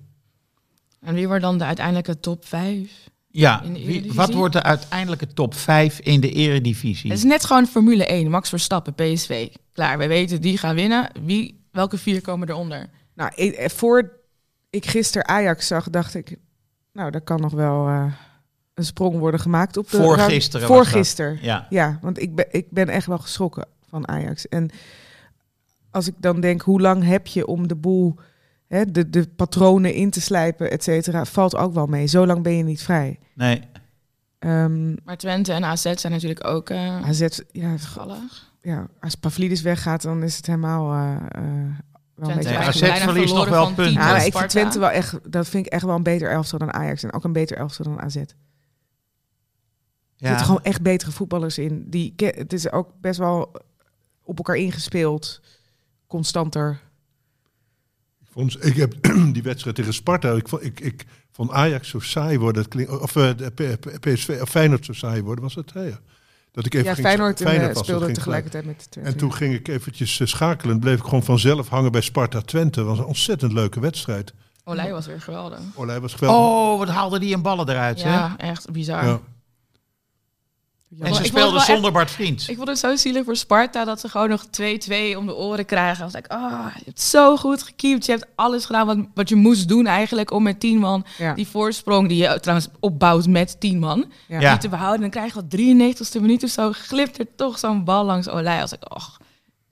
Speaker 4: En wie wordt dan de uiteindelijke top 5?
Speaker 2: Ja,
Speaker 4: In de
Speaker 2: wie-
Speaker 4: Eredivisie?
Speaker 2: wat wordt de uiteindelijke top 5 in de eredivisie?
Speaker 4: Het is net gewoon Formule 1, Max Verstappen, PSV. Klaar, we weten die gaan winnen. Wie, welke vier komen eronder?
Speaker 3: Nou, ik, eh, voor ik gisteren Ajax zag, dacht ik, nou, daar kan nog wel eh, een sprong worden gemaakt op de
Speaker 2: Voor
Speaker 3: rang-
Speaker 2: gisteren was
Speaker 3: Voor
Speaker 2: dat.
Speaker 3: gisteren.
Speaker 2: Ja,
Speaker 3: Ja, want ik ben, ik ben echt wel geschrokken van Ajax. En als ik dan denk, hoe lang heb je om de boel, hè, de, de patronen in te slijpen, et cetera, valt ook wel mee. Zo lang ben je niet vrij.
Speaker 2: nee.
Speaker 3: Ehm,
Speaker 4: Maar Twente en AZ zijn natuurlijk ook eh
Speaker 3: AZ, ja,
Speaker 4: gallig.
Speaker 3: ja, als Pavlidis weggaat, dan is het helemaal eh, eh, wel een
Speaker 4: Twente
Speaker 3: beetje...
Speaker 2: Nee,
Speaker 4: eigenlijk
Speaker 2: AZ
Speaker 4: bijna
Speaker 2: verliest
Speaker 4: verloren
Speaker 2: nog wel
Speaker 4: van
Speaker 2: punten.
Speaker 4: Tien
Speaker 3: Ja,
Speaker 4: van
Speaker 3: maar ik
Speaker 4: Sparta.
Speaker 3: vind Twente wel echt, dat vind ik echt wel een beter elftal dan Ajax. En ook een beter elftal dan AZ. Er
Speaker 2: Ja.
Speaker 3: zitten gewoon echt betere voetballers in. Die, ke- het is ook best wel op elkaar ingespeeld. Constanter.
Speaker 5: Ik, vond, ik heb die wedstrijd tegen Sparta. Ik, vond- ik, ik vond Ajax zo saai worden. Het klink- of eh, de P- P- PSV, of Feyenoord zo saai worden. Was dat? hè, Ja. Dat ik even
Speaker 3: Ja,
Speaker 5: ging-
Speaker 3: Feyenoord, eh,
Speaker 5: was,
Speaker 3: speelde
Speaker 5: dat ging gelijk.
Speaker 3: tegelijkertijd met Twente.
Speaker 5: En toen ging ik eventjes eh, schakelen. Bleef ik gewoon vanzelf hangen bij Sparta Twente. was een ontzettend leuke wedstrijd.
Speaker 4: Olij was weer geweldig.
Speaker 5: Olij was geweldig.
Speaker 2: Oh, wat haalde die een ballen eruit, hè?
Speaker 4: Ja, echt bizar.
Speaker 5: Ja.
Speaker 2: En
Speaker 4: Ik
Speaker 2: ze
Speaker 4: vond het
Speaker 2: speelden
Speaker 4: wel echt-
Speaker 2: zonder Bart Vriends.
Speaker 4: Ik vond het zo zielig voor Sparta dat ze gewoon nog 2-2 om de oren krijgen. Dan was ik, ah, je hebt zo goed gekiept. Je hebt alles gedaan wat, wat je moest doen eigenlijk om met 10 man
Speaker 3: Ja.
Speaker 4: die voorsprong, die je trouwens opbouwt met 10 man,
Speaker 3: Ja.
Speaker 2: Ja.
Speaker 4: die te behouden. Dan krijg je al 93ste minuut of zo, glipt er toch zo'n bal langs Olij. Als ik, och.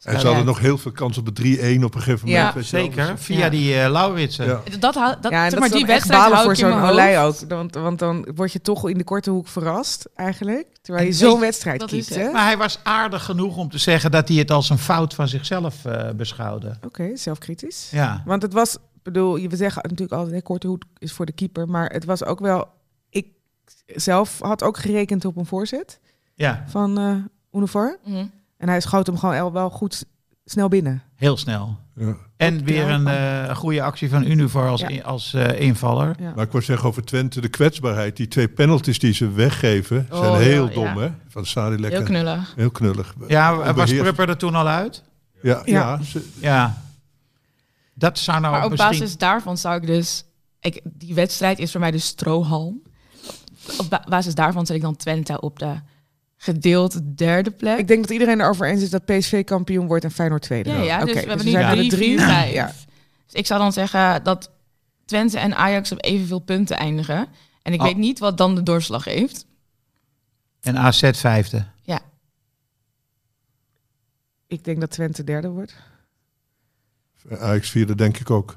Speaker 5: En ze hadden nog heel veel kans op een 3-1 op een gegeven
Speaker 3: Ja,
Speaker 5: moment. weet je wel.
Speaker 2: Zeker,
Speaker 5: Dus-
Speaker 2: via
Speaker 3: Ja.
Speaker 2: die eh Lauritsen.
Speaker 5: Ja.
Speaker 4: Dat, hou- dat,
Speaker 3: ja, en
Speaker 4: zeg
Speaker 3: dat
Speaker 4: maar
Speaker 3: is dan
Speaker 4: die
Speaker 3: echt
Speaker 4: wedstrijd
Speaker 3: balen
Speaker 4: hou
Speaker 3: voor
Speaker 4: ik in
Speaker 3: zo'n
Speaker 4: mijn
Speaker 3: Olij
Speaker 4: hoofd.
Speaker 3: ook. Want, want dan word je toch in de korte hoek verrast eigenlijk. Terwijl
Speaker 4: En
Speaker 3: je
Speaker 4: weet
Speaker 3: zo'n
Speaker 4: je,
Speaker 3: wedstrijd
Speaker 4: dat is
Speaker 3: kiest. hè? Oké,
Speaker 2: Maar hij was aardig genoeg om te zeggen dat hij het als een fout van zichzelf eh, beschouwde.
Speaker 3: zelfkritisch.
Speaker 2: Ja.
Speaker 3: Want het was, ik bedoel, je- we zeggen natuurlijk altijd, hè, korte hoed is voor de keeper. Maar het was ook wel, ik zelf had ook gerekend op een voorzet
Speaker 2: ja,
Speaker 3: van eh Unifor.
Speaker 4: Mhm.
Speaker 3: En hij schoot hem gewoon el- wel goed s- snel binnen.
Speaker 2: heel snel.
Speaker 5: Ja.
Speaker 2: En weer een eh, goede actie van Univar als,
Speaker 3: Ja.
Speaker 2: in- als eh, invaller.
Speaker 5: Maar ik wou zeggen over Twente, de kwetsbaarheid. Die twee penalties die ze weggeven, zijn
Speaker 4: Oh,
Speaker 5: heel
Speaker 4: ja,
Speaker 5: dom,
Speaker 4: ja.
Speaker 5: hè? Van Sadilek.
Speaker 4: Heel
Speaker 5: en-
Speaker 4: knullig.
Speaker 5: Heel knullig.
Speaker 2: Ja, eh, was
Speaker 5: Onbeheerst.
Speaker 2: Prupper er toen al uit?
Speaker 5: Ja,
Speaker 3: Ja.
Speaker 5: ja. ze-
Speaker 2: Ja. Dat zou nou
Speaker 4: Maar op
Speaker 2: misschien...
Speaker 4: basis daarvan zou ik dus... Ik, die wedstrijd is voor mij de strohalm. Op ba- basis daarvan zet ik dan Twente op de gedeeld derde plek.
Speaker 3: Ik denk dat iedereen erover eens is dat PSV kampioen wordt en Feyenoord tweede.
Speaker 4: ja, ja,
Speaker 3: Oké,
Speaker 4: dus we hebben
Speaker 3: we
Speaker 4: nu
Speaker 3: zijn er
Speaker 4: drie,
Speaker 3: drie.
Speaker 4: vier, vijf.
Speaker 3: Ja.
Speaker 4: Dus ik zou dan zeggen dat Twente en Ajax op evenveel punten eindigen. En ik
Speaker 2: Oh.
Speaker 4: weet niet wat dan de doorslag heeft.
Speaker 2: En AZ vijfde.
Speaker 4: Ja,
Speaker 3: Ik denk dat Twente derde wordt.
Speaker 5: Ajax vierde denk ik ook.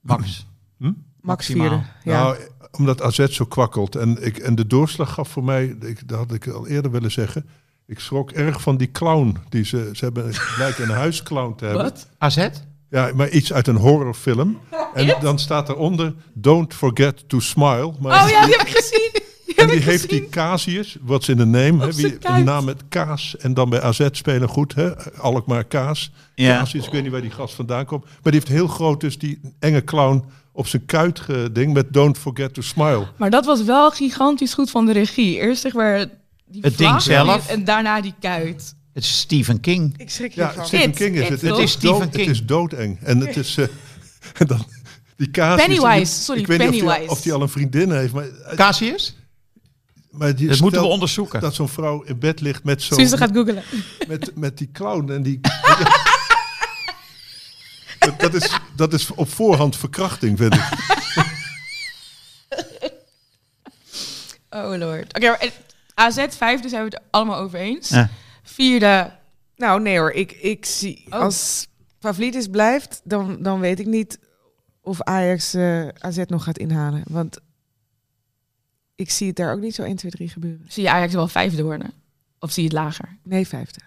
Speaker 2: Max.
Speaker 3: Max
Speaker 2: Maximaal.
Speaker 3: vierde. Ja.
Speaker 5: Nou, omdat AZ zo kwakkelt. En, ik, en de doorslag gaf voor mij, ik, dat had ik al eerder willen zeggen. Ik schrok erg van die clown. Die ze, ze hebben, het blijkt een huisclown te hebben.
Speaker 2: AZ?
Speaker 5: Ja, maar iets uit een horrorfilm. En dan staat eronder, don't forget to smile. Maar
Speaker 4: Oh ja, die heb ik gezien. Die
Speaker 5: en
Speaker 4: heb
Speaker 5: die
Speaker 4: ik
Speaker 5: heeft
Speaker 4: gezien.
Speaker 5: die Casius, wat ze in de neem. hè,
Speaker 4: zijn
Speaker 5: wie,
Speaker 4: kuit.
Speaker 5: een naam met Kaas en dan bij AZ spelen goed. Hè? Alkmaar Kaas.
Speaker 2: Ja.
Speaker 5: Casius, ik weet niet waar die gast vandaan komt. Maar die heeft heel groot dus die enge clown op zijn kuit geding met don't forget to smile.
Speaker 4: Maar dat was wel gigantisch goed van de regie. Eerst zeg maar die
Speaker 2: Het
Speaker 4: vlag
Speaker 2: ding zelf.
Speaker 4: en daarna die kuit.
Speaker 2: Het is Stephen King.
Speaker 3: Ik schrik
Speaker 5: Ja,
Speaker 3: hiervan.
Speaker 5: Stephen
Speaker 4: It,
Speaker 5: King is
Speaker 4: it
Speaker 5: het.
Speaker 4: toch?
Speaker 5: Het is
Speaker 2: Stephen
Speaker 5: dood,
Speaker 2: King.
Speaker 5: het is doodeng. En het is... eh, en dan, die Casius... die-
Speaker 4: Pennywise, sorry,
Speaker 5: Ik weet niet of die,
Speaker 4: Pennywise.
Speaker 5: of die al een vriendin heeft, maar... eh,
Speaker 2: Casius?
Speaker 5: maar die
Speaker 2: Dat moeten we
Speaker 5: stelt
Speaker 2: onderzoeken.
Speaker 5: Dat zo'n vrouw in bed ligt met zo'n...
Speaker 4: Suze gaat googelen.
Speaker 5: met, met die clown en die. dat, dat is, dat is op voorhand verkrachting, vind ik.
Speaker 4: Oh lord. Oké, maar, eh, AZ vijfde zijn we het allemaal over eens.
Speaker 2: Ja.
Speaker 4: Vierde,
Speaker 3: Nou, nee hoor. Ik, ik zie,
Speaker 4: Oh.
Speaker 3: als Pavlidis blijft, dan, dan weet ik niet of Ajax eh, AZ nog gaat inhalen. Want ik zie het daar ook niet zo 1, 2, 3 gebeuren.
Speaker 4: zie je Ajax wel vijfde worden? Of zie je het lager?
Speaker 3: Nee, vijfde.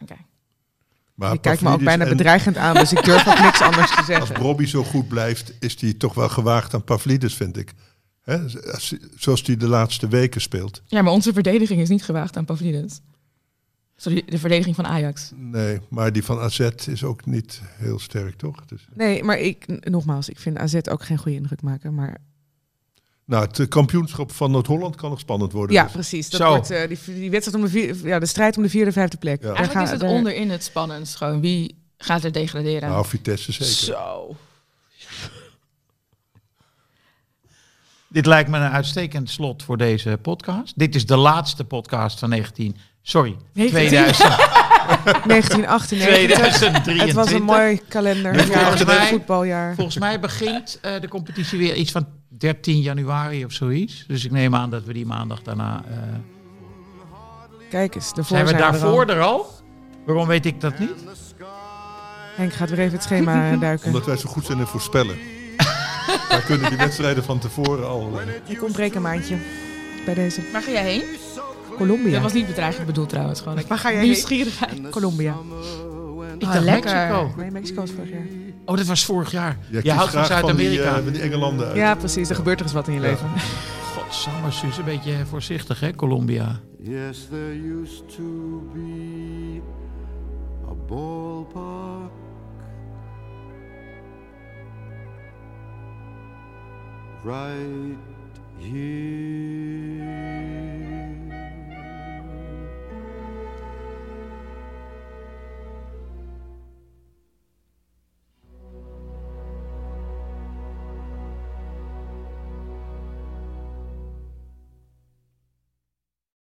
Speaker 5: Maar
Speaker 3: je kijkt me ook
Speaker 5: Pavlidis
Speaker 3: bijna
Speaker 5: en
Speaker 3: bedreigend aan, dus ik durf ook niks anders te
Speaker 5: Als
Speaker 3: zeggen.
Speaker 5: Bobby zo goed blijft, is hij toch wel gewaagd aan Pavlidis, vind ik. Hè? als- Zoals hij de laatste weken speelt.
Speaker 4: Ja, maar onze verdediging is niet gewaagd aan Pavlidis. Sorry, de verdediging van Ajax.
Speaker 5: Nee, maar die van AZ is ook niet heel sterk, toch? Dus,
Speaker 3: Nee, maar ik, n- nogmaals, ik vind AZ ook geen goede indruk maken. Maar
Speaker 5: nou, het eh, kampioenschap van Noord-Holland kan nog spannend worden.
Speaker 3: ja,
Speaker 5: dus.
Speaker 3: precies. Dat
Speaker 2: Zo.
Speaker 3: wordt, eh, die, die wedstrijd om de, vier, ja, de strijd om de vierde, vijfde plek.
Speaker 5: Ja.
Speaker 3: Daar
Speaker 4: Eigenlijk is
Speaker 3: gaan-
Speaker 4: het
Speaker 3: daar-
Speaker 4: onderin het spannendst. Gewoon wie gaat er degraderen?
Speaker 5: Nou, Vitesse zeker.
Speaker 3: Zo.
Speaker 2: Dit lijkt me een uitstekend slot voor deze podcast. Dit is de laatste podcast van 19... Sorry, 2000,
Speaker 3: 1998.
Speaker 2: 2023.
Speaker 3: Het was een mooi kalenderjaar,
Speaker 2: Volgens
Speaker 3: een
Speaker 2: mij-
Speaker 3: voetbaljaar.
Speaker 2: Volgens mij begint eh, de competitie weer iets van 13 januari of zoiets. Dus ik neem aan dat we die maandag daarna... eh,
Speaker 3: Kijk eens, de
Speaker 2: zijn we
Speaker 3: voorzijde
Speaker 2: daarvoor
Speaker 3: eraan.
Speaker 2: er al? Waarom weet ik dat niet?
Speaker 3: Henk gaat weer even het schema eh, duiken.
Speaker 5: Omdat wij zo goed zijn in voorspellen. Wij kunnen die wedstrijden van tevoren al... eh,
Speaker 3: Ik ontbreek een maandje bij deze
Speaker 4: Waar ga jij heen? Dat
Speaker 3: Colombia.
Speaker 4: was niet bedreigend bedoeld trouwens. Gewoon.
Speaker 3: Waar ga jij heen? Ah,
Speaker 4: Nieuwsgierigheid.
Speaker 3: Colombia.
Speaker 2: Ik dacht
Speaker 4: lekker.
Speaker 2: Mexico.
Speaker 3: Nee, Mexico was vorig jaar.
Speaker 2: Oh, dat was vorig jaar.
Speaker 5: Jij
Speaker 2: Je
Speaker 5: kiest
Speaker 2: houdt van
Speaker 5: graag
Speaker 2: Zuid-Amerika.
Speaker 5: die, eh, die Engelanden uit.
Speaker 3: Ja, precies. Er gebeurt er eens wat in je
Speaker 5: Ja.
Speaker 3: leven.
Speaker 2: Godsamme, Suus, een beetje voorzichtig, hè, Colombia.
Speaker 6: Yes, there used to be a ballpark right here.